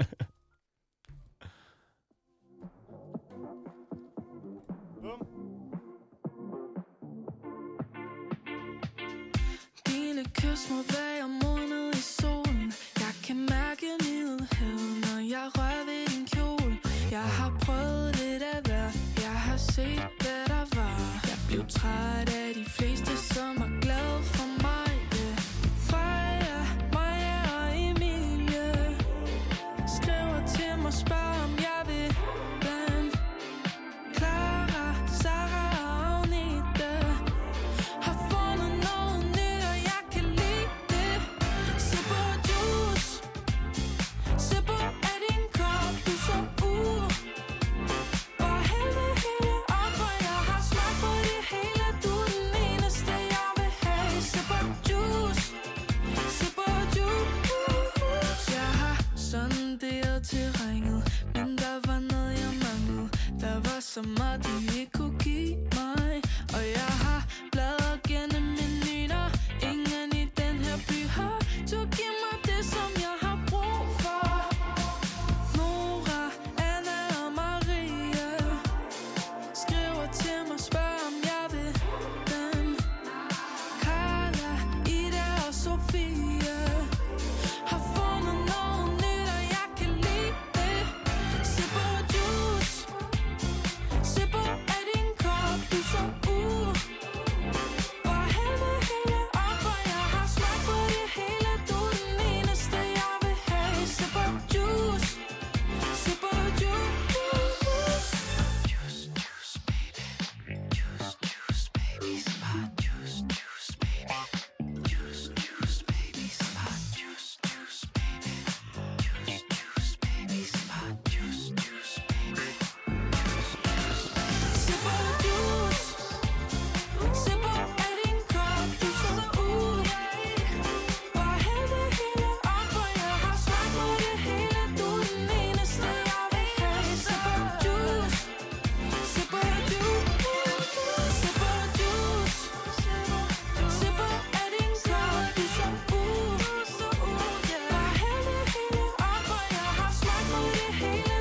K: Dine kys mod bag og mundet i solen Jeg kan mærke middelheden, når jeg rører ved din kjole Jeg har prøvet lidt af hver, jeg har set hvad der var Jeg blev træt af de fleste, som er glade for mig yeah. Freja, Maja og Emilie Skriver til mig, spørger om jeg vil vand Clara, Sara og Agnete har fundet noget nyt, og jeg kan lide det. Sip på juice. Sip på af din kop, du så ud. Og hæld det hele op, og jeg har smagt på det hele. Du er den eneste, jeg vil have. Sip på juice. Sip på juice. Jeg har sonderet terrænet, men der var noget, jeg manglede. Der var så meget, du ikke kunne give mig. Og jeg har bladret gennem menuer. Ingen i den her by har turde give mig det, som jeg har brug for. Nora, Anna og Maria skriver til mig, spørger om jeg vil dem. Carla, Ida og Sofia har fundet noget nyt, og jeg kan lide det. Sip på juice, sip på af din kop, du er så uh. Og hæld det hele op, for jeg har smagt på det hele. Du er den eneste, jeg vil have. Sip på juice, sip på juice. Juice, juice, baby. Juice, juice, baby. Spot juice, juice, baby. Juice, juice, baby. Spot juice, juice, baby. Juice, juice, baby. Spot juice, juice, baby. Juice, juice, baby. Sip på juice. Sip op af din krop, du sidder ud. Bare hæld det hele op, for jeg har smagt på det hele. Du er den eneste, jeg vil have. Sip op juice. Sip op juice. Sip op juice. Sip op af din krop, du sidder ud. Bare hæld det hele op, for jeg har smagt på det hele.